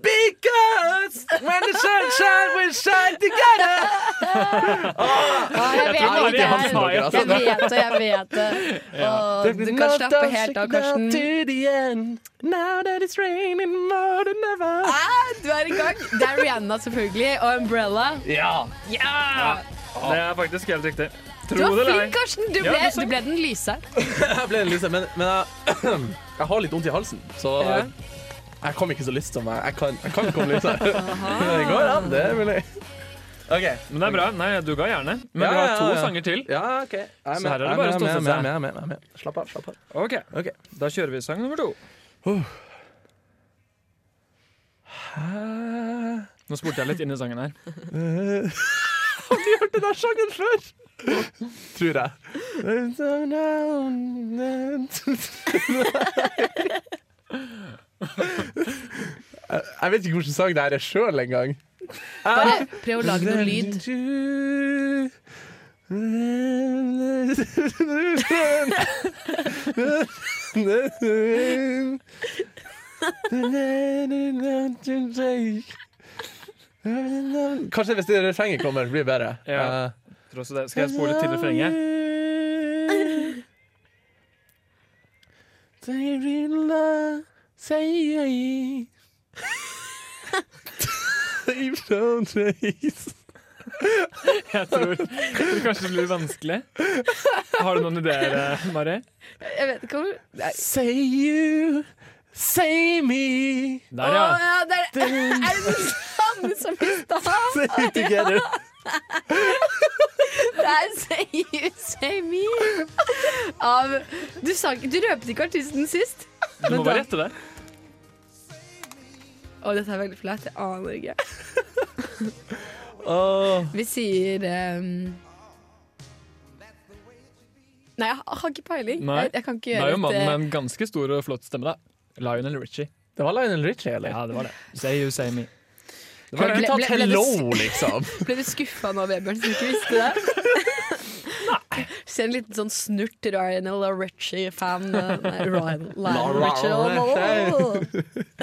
Because when the sunshine will shine together. ah, jeg vet Ja, hva det det er hans er. smaker, altså. Jeg vet det, jeg vet det. Åh, There's du been kan no slappe helt av, doubt shaken up Karsten. To the end, now that it's raining more than ever. Ah, du er i gang. Det er Rihanna, selvfølgelig. Og Umbrella. Ja. Det er faktisk helt riktig. Du Tro var det eller flink, ei. Karsten. Du Ja, ble, du sa- du ble den lyse. Jeg ble liksom, men, men jeg, jeg har litt vondt i halsen, så Ja. jeg kom ikke så lyst som jeg. Jeg kan, jeg kan komme litt sånn. Det går an, det er mulig. OK. Men det er bra. Nei, du ga gjerne. Men Ja, vi har ja, to ja. sanger til. Ja, OK. Jeg er Så med. her er det Jeg med, bare å stå jeg er seg. med, jeg er med, jeg er med, jeg er med. Slapp av. slapp av. Ok, Ok. Da kjører vi sang nummer to. Nå spurte jeg litt inn i sangen her. Har du hørt den der sangen før? Tror jeg. Jeg vet ikke hvilken sang det her er sjøl engang. Bare prøv å lage noe lyd. Kanskje hvis det refrenget kommer, blir det bedre. Ja. Eh, Tror også det. Skal jeg spole til refrenget? Jeg tror, jeg tror kanskje det blir vanskelig. Har du noen ideer, eh, Mari? Jeg vet ikke om Say you, say me Der, ja. Å, ja, det er, er det den samme som i stad? Say it together Det er Say You Say Me av Du, sa, ikke- du røpte ikke artisten sist. Du må da- bare rette det. Å, dette er veldig flaut. Jeg aner ikke. Åh, Vi sier ehm, Nei, jeg har ikke peiling. Nei. Jeg, jeg kan ikke Det gjøre er jo mannen et, eh, med en ganske stor og flott stemme, da. Lionel Richie. Det var Lionel Richie, eller? Ja, det var det. Say you, say me. Det var Ble- ikke ble- tatt ble det hello, s- liksom Ble du skuffa nå, Vebjørn, som ikke visste det? Se en liten sånn snurt Ryanel og Ritchie-fan. eh, Nei, Ryan Lionel Richie. og-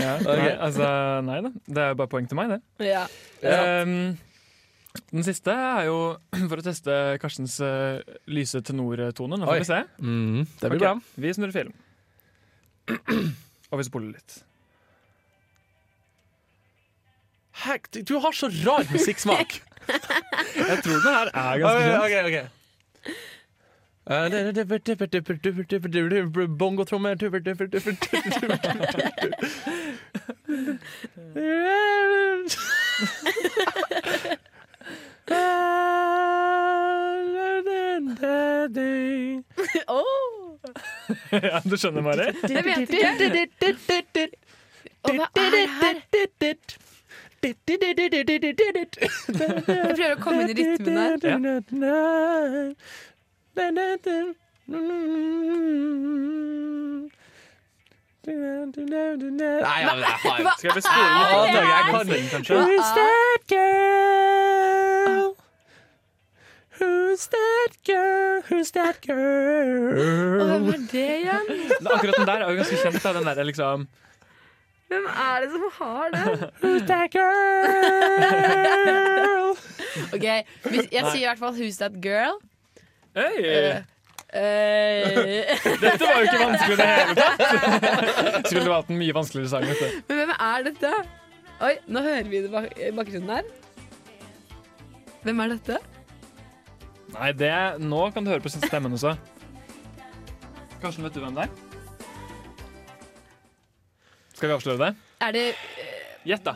Ja, nei, altså, nei da. Det er jo bare poeng til meg, det. Ja. Ehm, den siste er jo for å teste Karstens eh, lyse tenortone. Nå Oi. får vi se. mm, Det blir Ok, bra Vi snurrer film. Og vi spoler litt. Hek, du- Du har så rar musikksmak Jeg tror den her er Ok, ganske ok, kjent. ok Eh, Bongotrommer Oh. Ja, du skjønner, Mari? Jeg vet ikke. Og hva er det her? Jeg prøver å komme inn i rytmen her. Ja. Nei, ja, men jeg har jo Skal jeg Ah, beskrive den? jeg kan den, kanskje? Who's that girl? Who's that girl? Who's that Og girl? hvem er det igjen? Men Akkurat den der er jo ganske kjent. Da, den der, liksom. Hvem er det som har den? Who's that girl? Ok, hvis, Jeg sier i hvert fall 'Who's That Girl'. Hey, Eh, dette var jo ikke vanskelig i det hele tatt! Skulle valgt en mye vanskeligere sang. Vet du. men hvem er dette? Oi, nå hører vi det bak i bakgrunnen her. Hvem er dette? Nei, det, Nå kan du høre på stemmen også. Karsten, vet du hvem det er? Skal vi avsløre det? Er det Gjett, da.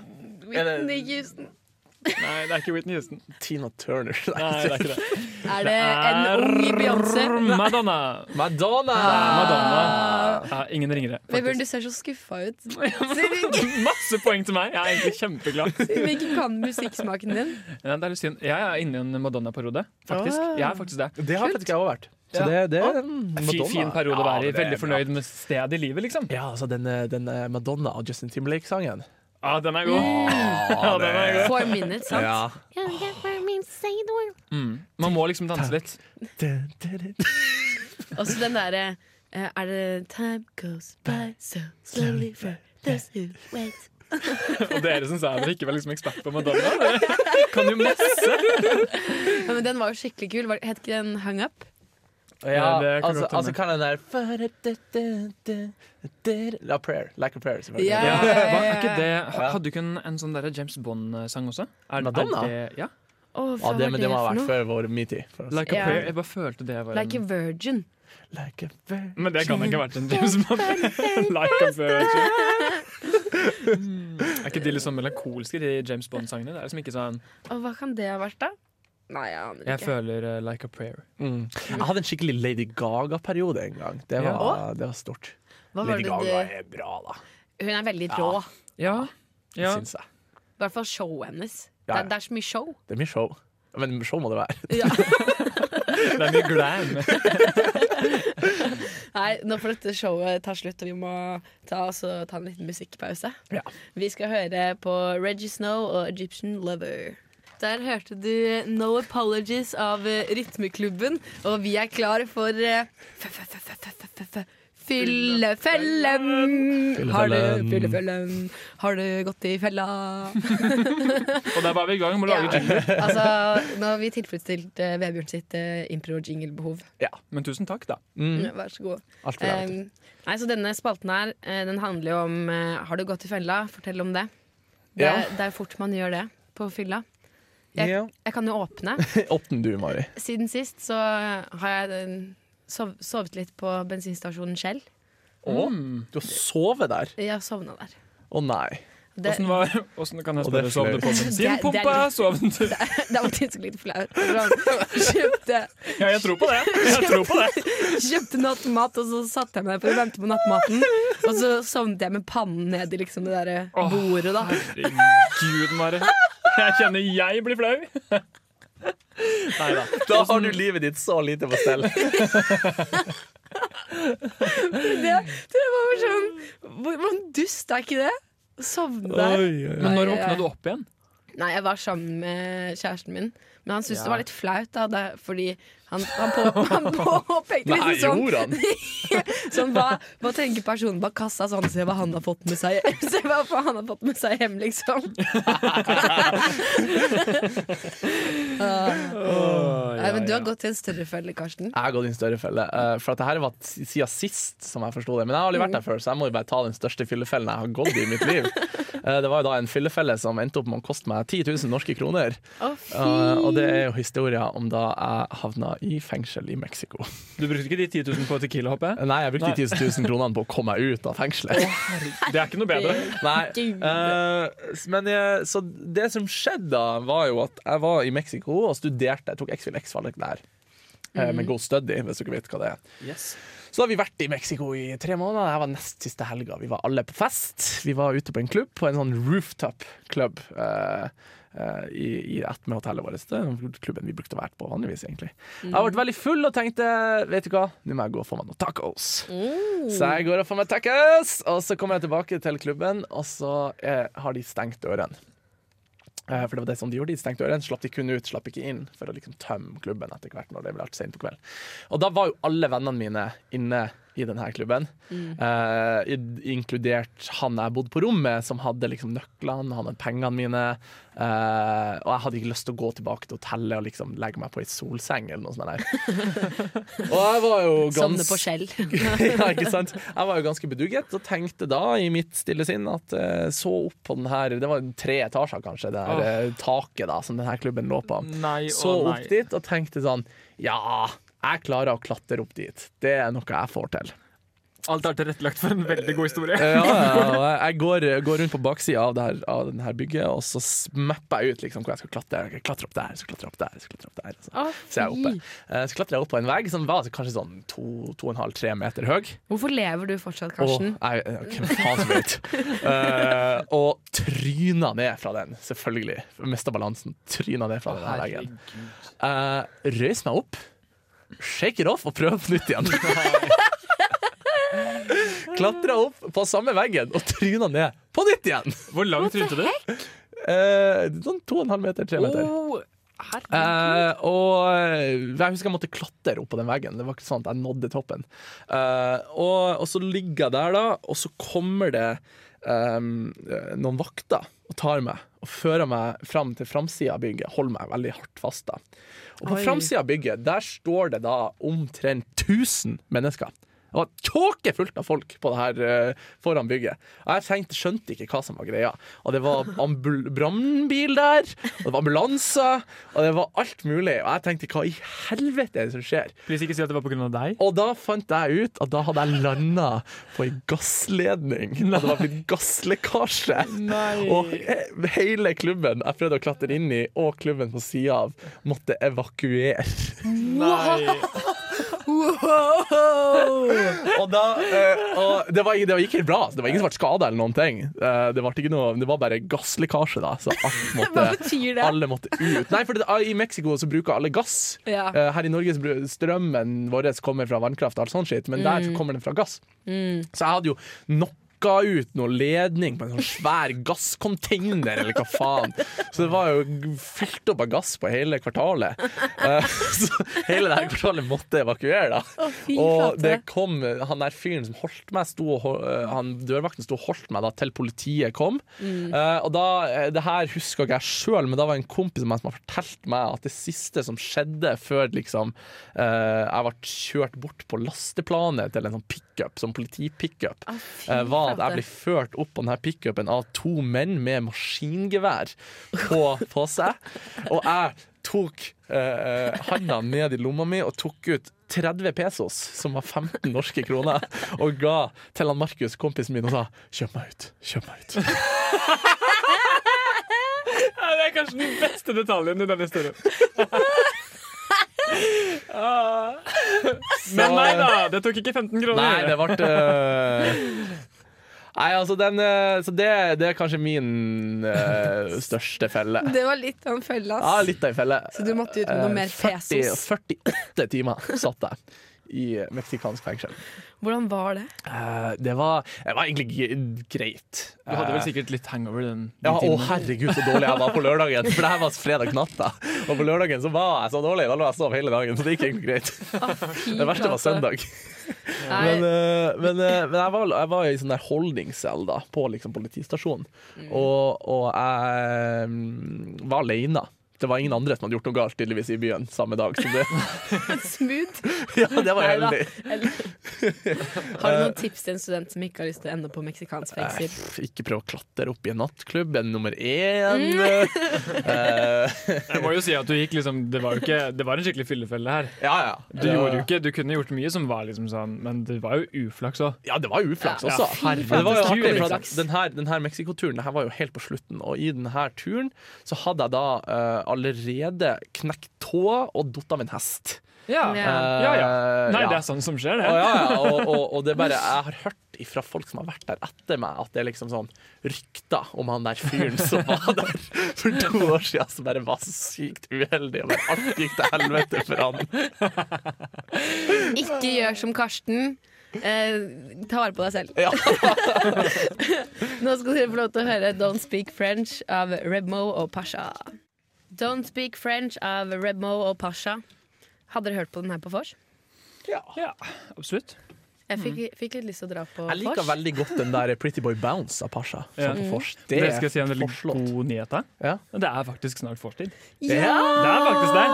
Whitney Houston? Nei, det er ikke Whitney Houston. Tina Turner. Nei, det er ikke det. Er det en ung Beyoncé? Nei. Madonna. Madonna! Madonna. Ja, ingen ringere. Vebjørn, du faktisk. ser så skuffa ut. Siden vi ikke- Masse poeng til meg. Jeg er egentlig kjempeglad. siden vi ikke kan musikksmaken din. Ja, det er litt synd. Jeg er inne i en Madonna-periode, faktisk. Ah. Jeg er faktisk det. Det har faktisk jeg også vært. Så Ja. det, det er Fin, Madonna. fin periode å Ja, være i. det er Veldig bra. fornøyd med stedet i livet, liksom. Ja, altså den, eh, den eh, Madonna og Justin Timberlake-sangen. Ja, den er god. Ja, den er god. Four minutes, sant? Mm. Man må liksom danse litt. Og så den derre eh, Er det Time goes by so slowly for those who wait. Og dere som sa dere ikke var liksom ekspert på Madonna, dere kan jo masse. Ja, men den var jo skikkelig kul. Var- Het ikke den Hung Up? Ja, det kan altså, godt hende. altså kan den der La prayer. Lack of prayer, selvfølgelig. Ja. Ja, var ikke det, hadde du ikke en, en sånn derre James Bond-sang også? Er, Madonna? Er det, ja. Oh, Ja, det, men det må ha vært før vår metoo. for oss. Like a Ja. prayer. Jeg bare følte det var Like a en virgin. Like a prayer. Men det kan ikke ha vært en James Bond. like a prayer. Mm. Er ikke de litt sånn melankolske, de James Bond-sangene? Det er liksom ikke sånn Og hva kan det ha vært, da? Nei, jeg aner Jeg ikke. føler eh, like a prayer. Mm. Jeg hadde en skikkelig Lady Gaga-periode en gang. Det var, Ja. det var stort. Hva var Lady det Gaga du er bra, da. Hun er veldig rå. Ja. ja. Syns jeg. I hvert fall showet hennes. Ja, Det, ja. er, det er så mye show. Det er mye show. Men show må det være. Det er mye glam. Nei, nå får dette showet ta slutt, og vi må ta, oss og ta en liten musikkpause. Ja. Vi skal høre på Reggie Snow og Egyptian Lover. Der hørte du eh, No Apologies av eh, Rytmeklubben, og vi er klar for eh, f- f- f- f- f- f- f- Fyllefellen! Har du Fyllefellen. fyllefellen? Har du gått i fella? Og der var vi i gang med å lage jingle. altså, nå har vi tilfredsstilt eh, Vebjørn sitt eh, impro-jingle-behov. Men tusen takk, da. Ja, Vær så god. Alt for deg. vet du. Eh, nei, så denne spalten her, eh, den handler jo om eh, Har du gått i fella? Fortell om det. Det, Ja. det er fort man gjør det på fylla. Jeg, Ja. jeg kan jo åpne. Åpne du, Mari. Siden sist så har jeg eh, sov, sovet litt på bensinstasjonen Shell. Å, du har sovet der? Jeg har sovna der. Å nei. Det, Åssen var Åssen kan jeg Og det spørre? er Sovne flaut. på bensinpumpa? Sovne til det var faktisk litt flaut. Kjøpte, Ja, jeg tror på det. Jeg tror på det. kjøpte nattmat, og så satte jeg meg for å vente på nattmaten. Og så sovnet jeg med pannen ned i liksom det derre Åh. bordet, da. Herregud, Mari. Jeg kjenner jeg blir flau. Nei da. Da har du livet ditt så lite på stell. Det, det var bare sånn hvor- Hvordan dust er ikke det? Å Sovne der. Men når våkna du opp igjen? Nei, jeg var sammen med kjæresten min, men han syntes Ja. det var litt flaut, da, det, fordi han, han, på, han påpekte Nei, liksom sånn gjorde han? Sånn, hva, hva tenker personen bak kassa sånn? Se hva han har fått med seg Se hva han har fått med seg hjem, liksom. Ah. Nei, men du har gått til en større felle, Karsten. Jeg har gått i en større felle. eh, For at det her var s- siden sist, som jeg forsto det. Men jeg har aldri vært der Mm. før, så jeg må jo bare ta den største fyllefellen jeg har gått i i mitt liv. Eh, Det var jo da en fyllefelle som endte opp med å koste meg 10 000 norske kroner. Å, fy. Eh, Og det er jo historia om da jeg havna i fengsel i Mexico. Du brukte ikke de 10 000 på Tequila, håper jeg? Nei, jeg brukte Nei. de 10 000 kronene på å komme meg ut av fengselet. Det er ikke noe bedre. Nei. Gud. eh, men jeg, så det som skjedde da, var jo at jeg var i Mexico og studerte. Jeg tok XVLX-valg der. eh, med Go Study, hvis dere vet hva det er. Yes. Så har vi vært i Mexico i tre måneder. Det her var nest siste helga. Vi var alle på fest. Vi var ute på en klubb, på en sånn rooftop-klubb eh, eh, i, i ett med hotellet vårt. Det er klubben vi brukte å være på vanligvis, egentlig. Jeg har vært veldig full og tenkte, vet du hva, nå må jeg gå og få meg noen tacos. Så jeg går og får meg tacos, og så kommer jeg tilbake til klubben, og så eh, har de stengt dørene. Eh, For det var det som de gjorde, de stengte dørene, slapp de kun ut, slapp ikke inn, for å liksom tømme klubben etter hvert når det ble sent på kvelden. Og da var jo alle vennene mine inne i denne klubben, eh, id- inkludert han jeg bodde på rommet, som hadde liksom nøklene, han hadde pengene mine, eh, og jeg hadde ikke lyst til å gå tilbake til hotellet og liksom legge meg på ei solseng eller noe sånt der. og jeg var jo Sovne gans- på skjell. ja, ikke sant? Jeg var jo ganske bedugget og tenkte da i mitt stille sinn at eh, så opp på den her Det var tre etasjer, kanskje, det her eh, taket da som denne klubben lå på. Nei og Så nei. opp dit og tenkte sånn Ja, jeg klarer å klatre opp dit. Det er noe jeg får til. Eh, Alt er tilrettelagt for en veldig god historie. Ja, ja, og jeg- jeg går, går rundt på baksida av, det her- av den her bygget, og så mapper jeg ut liksom, hvor jeg skal klatre. Jeg skal klatre opp der, så klatre opp der, så klatre opp der. Så, så, er jeg oppe. Eh, så klatrer jeg opp på en vegg som var kanskje sånn to, to og en halv, tre meter høy. Hvorfor lever du fortsatt, Karsten? Og, jeg, jeg- hvem faen som vet. Eh, og tryna ned fra den, selvfølgelig. Mista balansen. Tryna ned fra den her veggen. Uh, Røys meg opp, shake it off og prøve på nytt igjen. Klatra opp på samme veggen og tryna ned på nytt igjen. Hvor langt trynte du? Eh, sånn to og en halv meter, tre meter. Eh, og jeg husker jeg måtte klatre opp på den veggen. Det var ikke sånn at jeg nådde toppen. Eh, og, og så ligger jeg der, da, og så kommer det ehm, eh, noen vakter og tar meg. Og fører meg fram til framsida av bygget. Holder meg veldig hardt fast. da Og på framsida av bygget der står det da omtrent 1000 mennesker. Det var tåkefullt av folk på det her eh, foran bygget. Og jeg tenkte, skjønte ikke hva som var greia. Og det var ambul- brannbil der, og det var ambulanser, og det var alt mulig. Og jeg tenkte, hva i helvete er det som skjer? Please ikke si at det var pga. deg. Og da fant jeg ut at da hadde jeg landa på ei gassledning. Og det var blitt gasslekkasje. Og he- hele klubben jeg prøvde å klatre inn i, og klubben på sida av, måtte evakuere. Nei. Og da eh, og det, var, det var- gikk helt bra. Det var ingen som ble skada eller noen ting. Eh, det, ble ikke noe, det var bare gasslekkasje, da. Så alt Hva måtte betyr det? alle måtte ut. Nei, for det, ah, I Mexico så bruker alle gass. Ja. Eh, Her i Norge så bru- strømmen vår kommer fra vannkraft, og alt sånt shit, men Mm. der så kommer den fra gass. Så jeg hadde jo knocka ut noe ledning på en sånn svær gasscontainer, eller hva faen. Så det var jo g- fylt opp av gass på hele kvartalet. Eh, Så hele det her kvartalet måtte evakuere, da. fy Og flate. det kom han der fyren som holdt meg, sto og, hol- eh, han dørvakten sto og holdt meg da til politiet kom. Eh, og da, eh, det her husker ikke jeg sjøl, men da var det en kompis av meg som har fortalt meg at det siste som skjedde før liksom, eh, jeg ble kjørt bort på lasteplanet til en sånn pickup, sånn politipickup, eh, var at jeg ble ført opp på denne pickupen av to menn med maskingevær på, på seg. Og jeg tok eh, handa ned i lomma mi og tok ut 30 pesos, som var 15 norske kroner, og ga til han Markus, kompisen min, og sa 'kjøp meg ut', kjøp meg ut. Ja, Det er kanskje den beste detaljen i denne historien. Men nei da, det tok ikke 15 kroner. Nei, det ble eh, Nei, altså den eh, Så det, det er kanskje min eh, største felle. Det var litt av en felle, Ja, ass. litt av ei felle. Så du måtte ut med noe Eh, mer 40 pesos. 48 timer satt jeg i eh, meksikansk fengsel. Hvordan var det? Eh, det, var, det var egentlig g- greit. Eh, Du hadde vel sikkert litt hangover den, den Ja, Å, timen. herregud, så dårlig jeg var på lørdagen! For det her var fredag natta. Og på lørdagen så var jeg så dårlig. Da lå jeg og sov hele dagen, så det gikk egentlig greit. Det verste var søndag. Men, eh, men, eh, men jeg, var, jeg var i sånn der holdningscell da, på liksom politistasjonen. Mm. Og, og jeg mm, var aleine. Det var ingen andre som hadde gjort noe galt tydeligvis i byen samme dag. Så det, Smooth? ja, det var Neida. heldig. Eller? Har du noen tips til en student som ikke har lyst til å ende på meksikansk Eh. Nei, fengsel? Ikke prøv å klatre opp i en nattklubb, en nummer én. Mm. Eh, Jeg må jo si at du gikk liksom Det var jo ikke Det var en skikkelig fyllefelle her. ja, ja. Du gjorde jo ikke Du kunne gjort mye som var liksom sånn, men det var jo uflaks òg. Ja, det var jo uflaks Ja, også. fy faen. Men det var jo Herregud, artig, for at uflaks. den her, den her Mexico-turen det her var jo helt på slutten, og i den her turen så hadde jeg da eh, allerede knekt tåa og datt av en hest. Ja. Ja. Ja, Eh, Nei, ja. det er sånn som skjer, Og, det. ja, ja, og, og, og det er bare, jeg har hørt fra folk som har vært der etter meg, at det er liksom sånn rykter om han der fyren som var der for to år siden, som bare var så sykt uheldig, og bare alt gikk til helvete for han. Ikke gjør som Karsten. Eh, ta vare på deg selv. Ja. Nå skal dere få lov til å høre Don't Speak French av Rebmo og Pasha. Don't Speak French av Rebmo og Pasha. Hadde dere hørt på den her på vors? Ja, absolutt. Jeg fikk, fikk litt lyst til å dra på Jeg liker vors. veldig godt den der Pretty Boy Bounce av Pasha. Ja. Sånn på fors. Det skal jeg si en veldig forslått. god nyhet her. Ja. Det er faktisk snart vorstid. Ja! Det er faktisk det.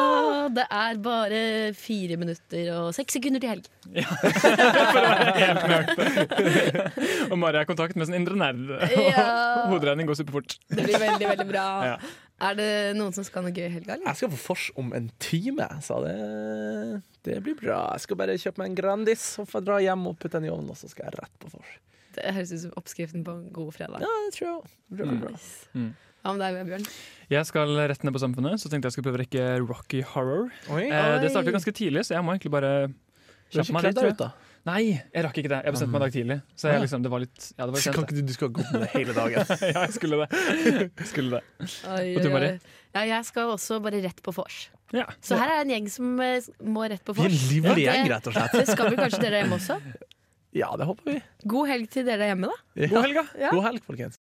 Det er bare fire minutter og seks sekunder til helg. Og Mari er i kontakt med sin indre nerd. Ja. Hoderegning går superfort. Det blir veldig, veldig bra. Ja. Er det noen som skal ha noe gøy i helga, eller? Jeg skal på fors om en time, så det, det blir bra. Jeg skal bare kjøpe meg en Grandis og få dra hjem og putte den i ovnen, og så skal jeg rett på fors. Det høres ut som oppskriften på en god fredag. Ja, det tror jeg. Det blir bra. Hva med deg, Bjørn? Jeg skal rett ned på Samfunnet, så tenkte jeg skulle prøve å rekke Rocky Horror. Oi. Eh, det Oi. starter ganske tidlig, så jeg må egentlig bare Du har kjappe ikke meg kledd dit. deg tror ut, da? jeg. Nei, jeg rakk ikke det. Jeg bestemte meg i dag tidlig. Så Ah. jeg, liksom, det var litt Ja, det Kan var sent. ikke du, du skal gå med det hele dagen. det. Ja, jeg skulle det. Skulle det. Oi, Og du, oi, Mari? oi. Ja, jeg skal også bare rett på vors. Ja. Så her er en gjeng som eh, må rett på Vi er en vors. livlig Ja, gjeng, det- rett og slett. Det skal vel kanskje dere der hjemme også? Ja, det håper vi. God helg til dere der hjemme, da. Ja. God helg, da. God helg, folkens.